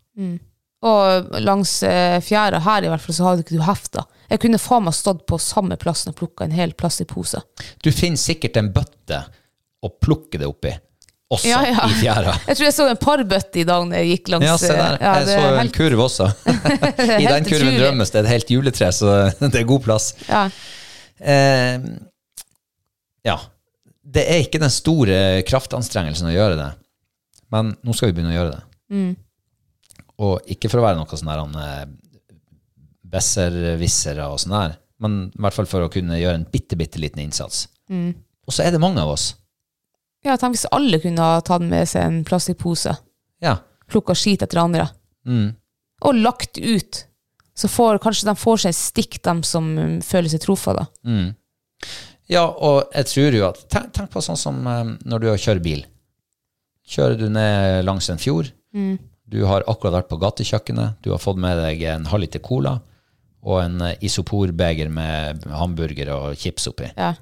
Speaker 3: Og langs eh, fjæra her i hvert fall, så hadde ikke du hefta. Jeg kunne faen meg stått på samme plassen og plukka en hel plastikkpose.
Speaker 2: Du finner sikkert en bøtte å plukke det oppi, også
Speaker 3: Ja, ja.
Speaker 2: i fjæra.
Speaker 3: Jeg tror jeg så en parbøtte i dag når jeg gikk langs
Speaker 2: Ja, se der.
Speaker 3: eh, ja,
Speaker 2: jeg
Speaker 3: det
Speaker 2: så
Speaker 3: er
Speaker 2: jo en
Speaker 3: helt-
Speaker 2: kurv også. I den
Speaker 3: helt
Speaker 2: kurven
Speaker 3: utrolig.
Speaker 2: drømmes det et helt juletre, så det er god plass.
Speaker 3: Ja.
Speaker 2: Eh, ja. Det er ikke den store kraftanstrengelsen å gjøre det, men nå skal vi begynne å gjøre det.
Speaker 3: Mm.
Speaker 2: Og ikke for å være noe sånn der han, eh, besserwissere og sånn der, men i hvert fall for å kunne gjøre en bitte, bitte liten innsats.
Speaker 3: Mm.
Speaker 2: Og så er det mange av oss.
Speaker 3: ja, tenk hvis alle kunne ha tatt med seg en plastikkpose,
Speaker 2: Ja.
Speaker 3: plukka skit etter andre,
Speaker 2: Mm.
Speaker 3: og lagt ut. Så får, kanskje de får seg et stikk, de som um, føler seg truffet da.
Speaker 2: Ja, og jeg tror jo at Tenk, tenk på sånn som eh, når du kjører bil. Kjører du ned langs en fjord.
Speaker 3: Mm.
Speaker 2: Du har akkurat vært på gatekjøkkenet. Du har fått med deg en halvliter cola og en eh, isoporbeger med hamburger og chips oppi.
Speaker 3: Ja.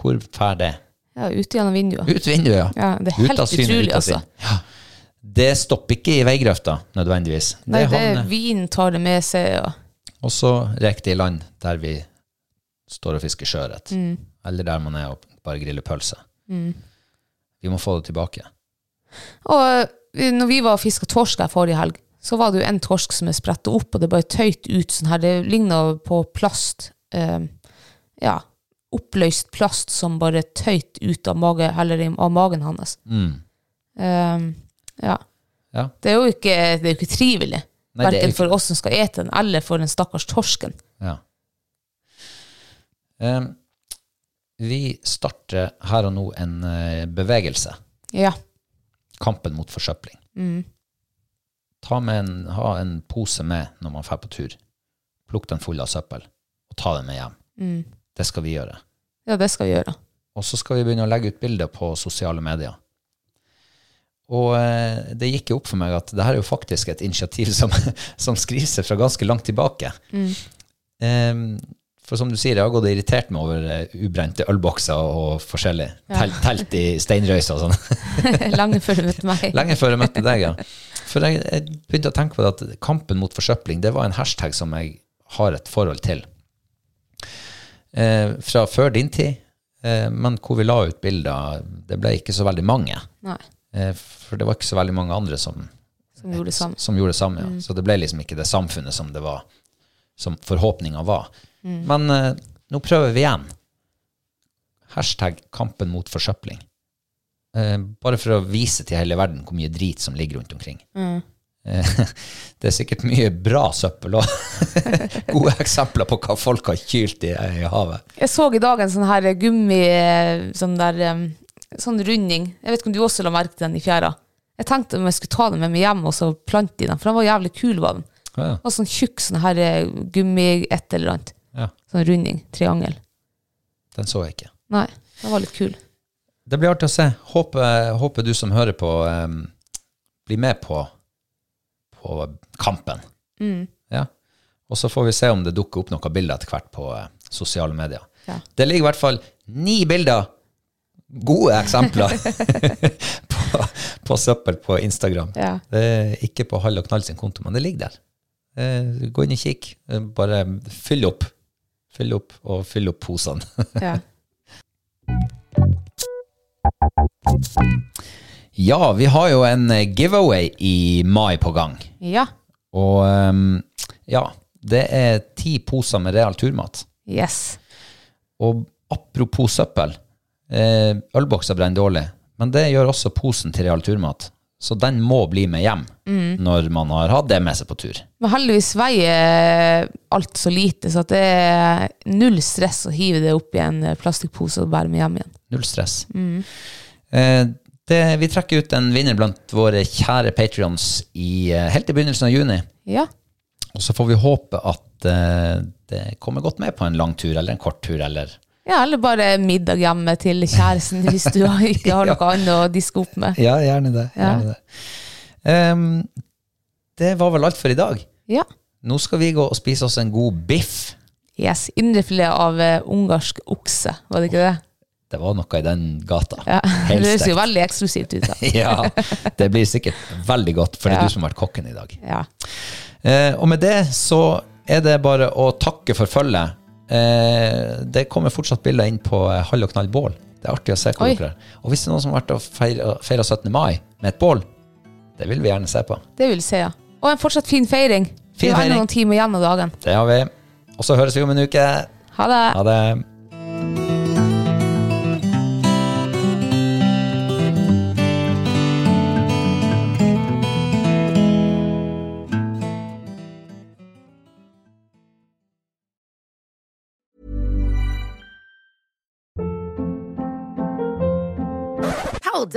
Speaker 2: Hvor fær det?
Speaker 3: ja, ut gjennom vinduet.
Speaker 2: Ut vinduet, ja.
Speaker 3: Ja, det er helt
Speaker 2: Ut av syne,
Speaker 3: utrolig,
Speaker 2: ut av
Speaker 3: altså.
Speaker 2: sinn. Ja. Det stopper ikke i veigrøfta, nødvendigvis. det
Speaker 3: Nei,
Speaker 2: eh.
Speaker 3: det er
Speaker 2: havner
Speaker 3: vinen tar det med seg. Og.
Speaker 2: også riktig i land der vi står og fisker sjøørret.
Speaker 3: Mm.
Speaker 2: Eller der man er og bare griller pølse. Vi må få det tilbake.
Speaker 3: Og eh, når vi var og fiska torsk her forrige helg, så var det jo en torsk som er spretta opp, og det bare tøyt ut sånn her. Det ligna på plast. Eh, ja. Oppløst plast som bare tøyt ut av, mage, eller i- av magen hans.
Speaker 2: Mm.
Speaker 3: Eh, ja.
Speaker 2: Ja.
Speaker 3: Det er jo ikke, det er jo ikke trivelig.
Speaker 2: Nei, det er
Speaker 3: Verken
Speaker 2: ikke-
Speaker 3: for oss som skal ete den, eller for den stakkars torsken.
Speaker 2: Ja. Em, vi starter her og nå en eh, bevegelse.
Speaker 3: Ja.
Speaker 2: Kampen mot forsøpling.
Speaker 3: Mm.
Speaker 2: Ta med en, ha en pose med når man drar på tur. Plukk den full av søppel, og ta den med hjem.
Speaker 3: Mm.
Speaker 2: Det skal vi gjøre.
Speaker 3: ja, det skal vi gjøre.
Speaker 2: Og så skal vi begynne å legge ut bilder på sosiale medier. Og eh, det gikk jo opp for meg at det her er jo faktisk et initiativ som, som skriver seg fra ganske langt tilbake. Em, for som du sier, jeg har gått og irritert meg over eh, ubrente ølbokser og forskjellig. Telt, telt i steinrøysa og sånn.
Speaker 3: Lenge før du møtte meg.
Speaker 2: Lenge før jeg møtte deg, ja. For jeg, jeg begynte å tenke på det at kampen mot forsøpling, det var en hashtag som jeg har et forhold til. Eh, fra før din tid, eh, men hvor vi la ut bilder, det ble ikke så veldig mange.
Speaker 3: Nei,
Speaker 2: Eh, for det var ikke så veldig mange andre som,
Speaker 3: som gjorde det samme.
Speaker 2: som gjorde det samme. Ja. Så det ble liksom ikke det samfunnet som det var, som forhåpninga var. Men eh, nå prøver vi igjen. Hashtag kampen mot forsøpling. Eh, bare for å vise til hele verden hvor mye drit som ligger rundt omkring. Eh, det er sikkert mye bra søppel og gode eksempler på hva folk har kylt i, i havet.
Speaker 3: Jeg så i dag en sånn her gummi Sånn der um, Sånn runding. Jeg vet ikke om du også la merke til den i fjæra. Jeg tenkte om jeg skulle ta den med meg hjem og så plante i den, for den var jævlig kul. var den.
Speaker 2: Ja,
Speaker 3: Og sånn tjukk sånn her eh, gummi et eller annet.
Speaker 2: ja,
Speaker 3: Sånn runding. Triangel.
Speaker 2: den så jeg ikke.
Speaker 3: Nei, den var litt kul.
Speaker 2: Det blir artig å se. Håper, håper du som hører på, em, blir med på, på kampen. Ja. Og så får vi se om det dukker opp noen bilder etter hvert på eh, sosiale medier.
Speaker 3: Ja.
Speaker 2: Det ligger i hvert fall ni bilder, gode eksempler, på, på søppel på Instagram.
Speaker 3: Ja.
Speaker 2: Det er ikke på Hall og Knall sin konto, men det ligger der. Eh, Gå inn og kikk. Eh, Bare fyll opp. Fyll opp, og fyll opp posene.
Speaker 3: Ja.
Speaker 2: Ja, vi har jo en eh, giveaway i mai på gang.
Speaker 3: ja.
Speaker 2: Og ehm, ja, det er ti poser med real turmat.
Speaker 3: Yes.
Speaker 2: Og apropos søppel, eh, ølbokser brenner dårlig, men det gjør også posen til real turmat. Så den må bli med hjem når man har hatt det med seg på tur.
Speaker 3: Men heldigvis veier eh, alt så lite, så at det er null stress å hive det opp i en eh, plastikkpose og bære med hjem igjen.
Speaker 2: Null stress. Eh, det, vi trekker ut en vinner blant våre kjære patrions i, eh, helt i begynnelsen av juni.
Speaker 3: Ja.
Speaker 2: Og så får vi håpe at eh, det kommer godt med på en lang tur eller en kort tur eller
Speaker 3: Ja, eller bare middag hjemme til kjæresten hvis du har- ikke har noe annet å diske opp med.
Speaker 2: Ja, gjerne det. Gjerne det. Ehm, det var vel alt for i dag.
Speaker 3: Ja.
Speaker 2: Nå skal vi gå og spise oss en god biff.
Speaker 3: Yes. Indrefilet av eh, ungarsk okse, var det ikke det?
Speaker 2: Det var noe i den gata.
Speaker 3: Ja. Det
Speaker 2: Helt
Speaker 3: høres jo
Speaker 2: stekt.
Speaker 3: veldig eksklusivt ut. da.
Speaker 2: Ja, det blir sikkert veldig godt, for det er
Speaker 3: Ja.
Speaker 2: du som har vært kokken i dag.
Speaker 3: Ja.
Speaker 2: Eh, og med det så er det bare å takke for følget. Eh, det kommer fortsatt bilder inn på eh, Hall og knall bål. Det er artig å se hvor
Speaker 3: Oi.
Speaker 2: dere er. Og hvis det er noen som har vært og feira- feira 17. mai med et bål, det vil vi gjerne se på.
Speaker 3: Det vil jeg si, ja. Og en fortsatt fin feiring.
Speaker 2: Fin
Speaker 3: det er jo ennå
Speaker 2: feiring.
Speaker 3: noen timer igjen av dagen.
Speaker 2: Det har vi. Og så høres vi om en uke.
Speaker 3: Ha det.
Speaker 2: Ha det.
Speaker 4: Hold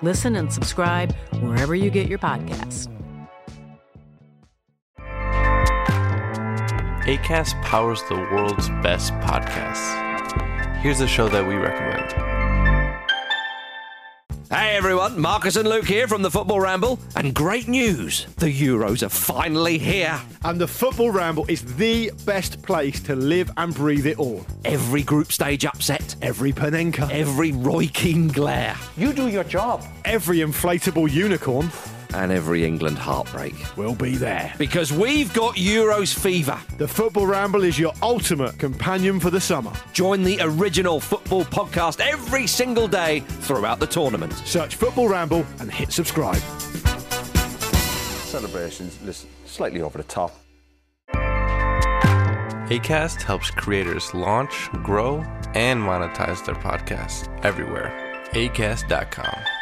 Speaker 5: Listen and subscribe wherever you get your podcasts.
Speaker 6: ACAST powers the world's best podcasts. Here's a show that we recommend.
Speaker 7: Hey everyone, Marcus and Luke here from the Football Ramble, and great news! The Euros are finally here!
Speaker 8: And the Football Ramble is the best place to live and breathe it all.
Speaker 7: Every group stage upset,
Speaker 8: Every Panenka,
Speaker 7: every Roy Keane glare,
Speaker 8: every inflatable unicorn
Speaker 7: and every England heartbreak.
Speaker 8: will be there.
Speaker 7: Because we've got Euros fever!
Speaker 8: The Football Ramble is your ultimate companion for the summer.
Speaker 7: Join the original football podcast every single day throughout the tournament.
Speaker 8: Search Football Ramble and hit subscribe.
Speaker 9: Celebrations, listen, slightly over the top.
Speaker 6: ACAST helps creators launch, grow, and monetize their podcasts everywhere. ACAST.com.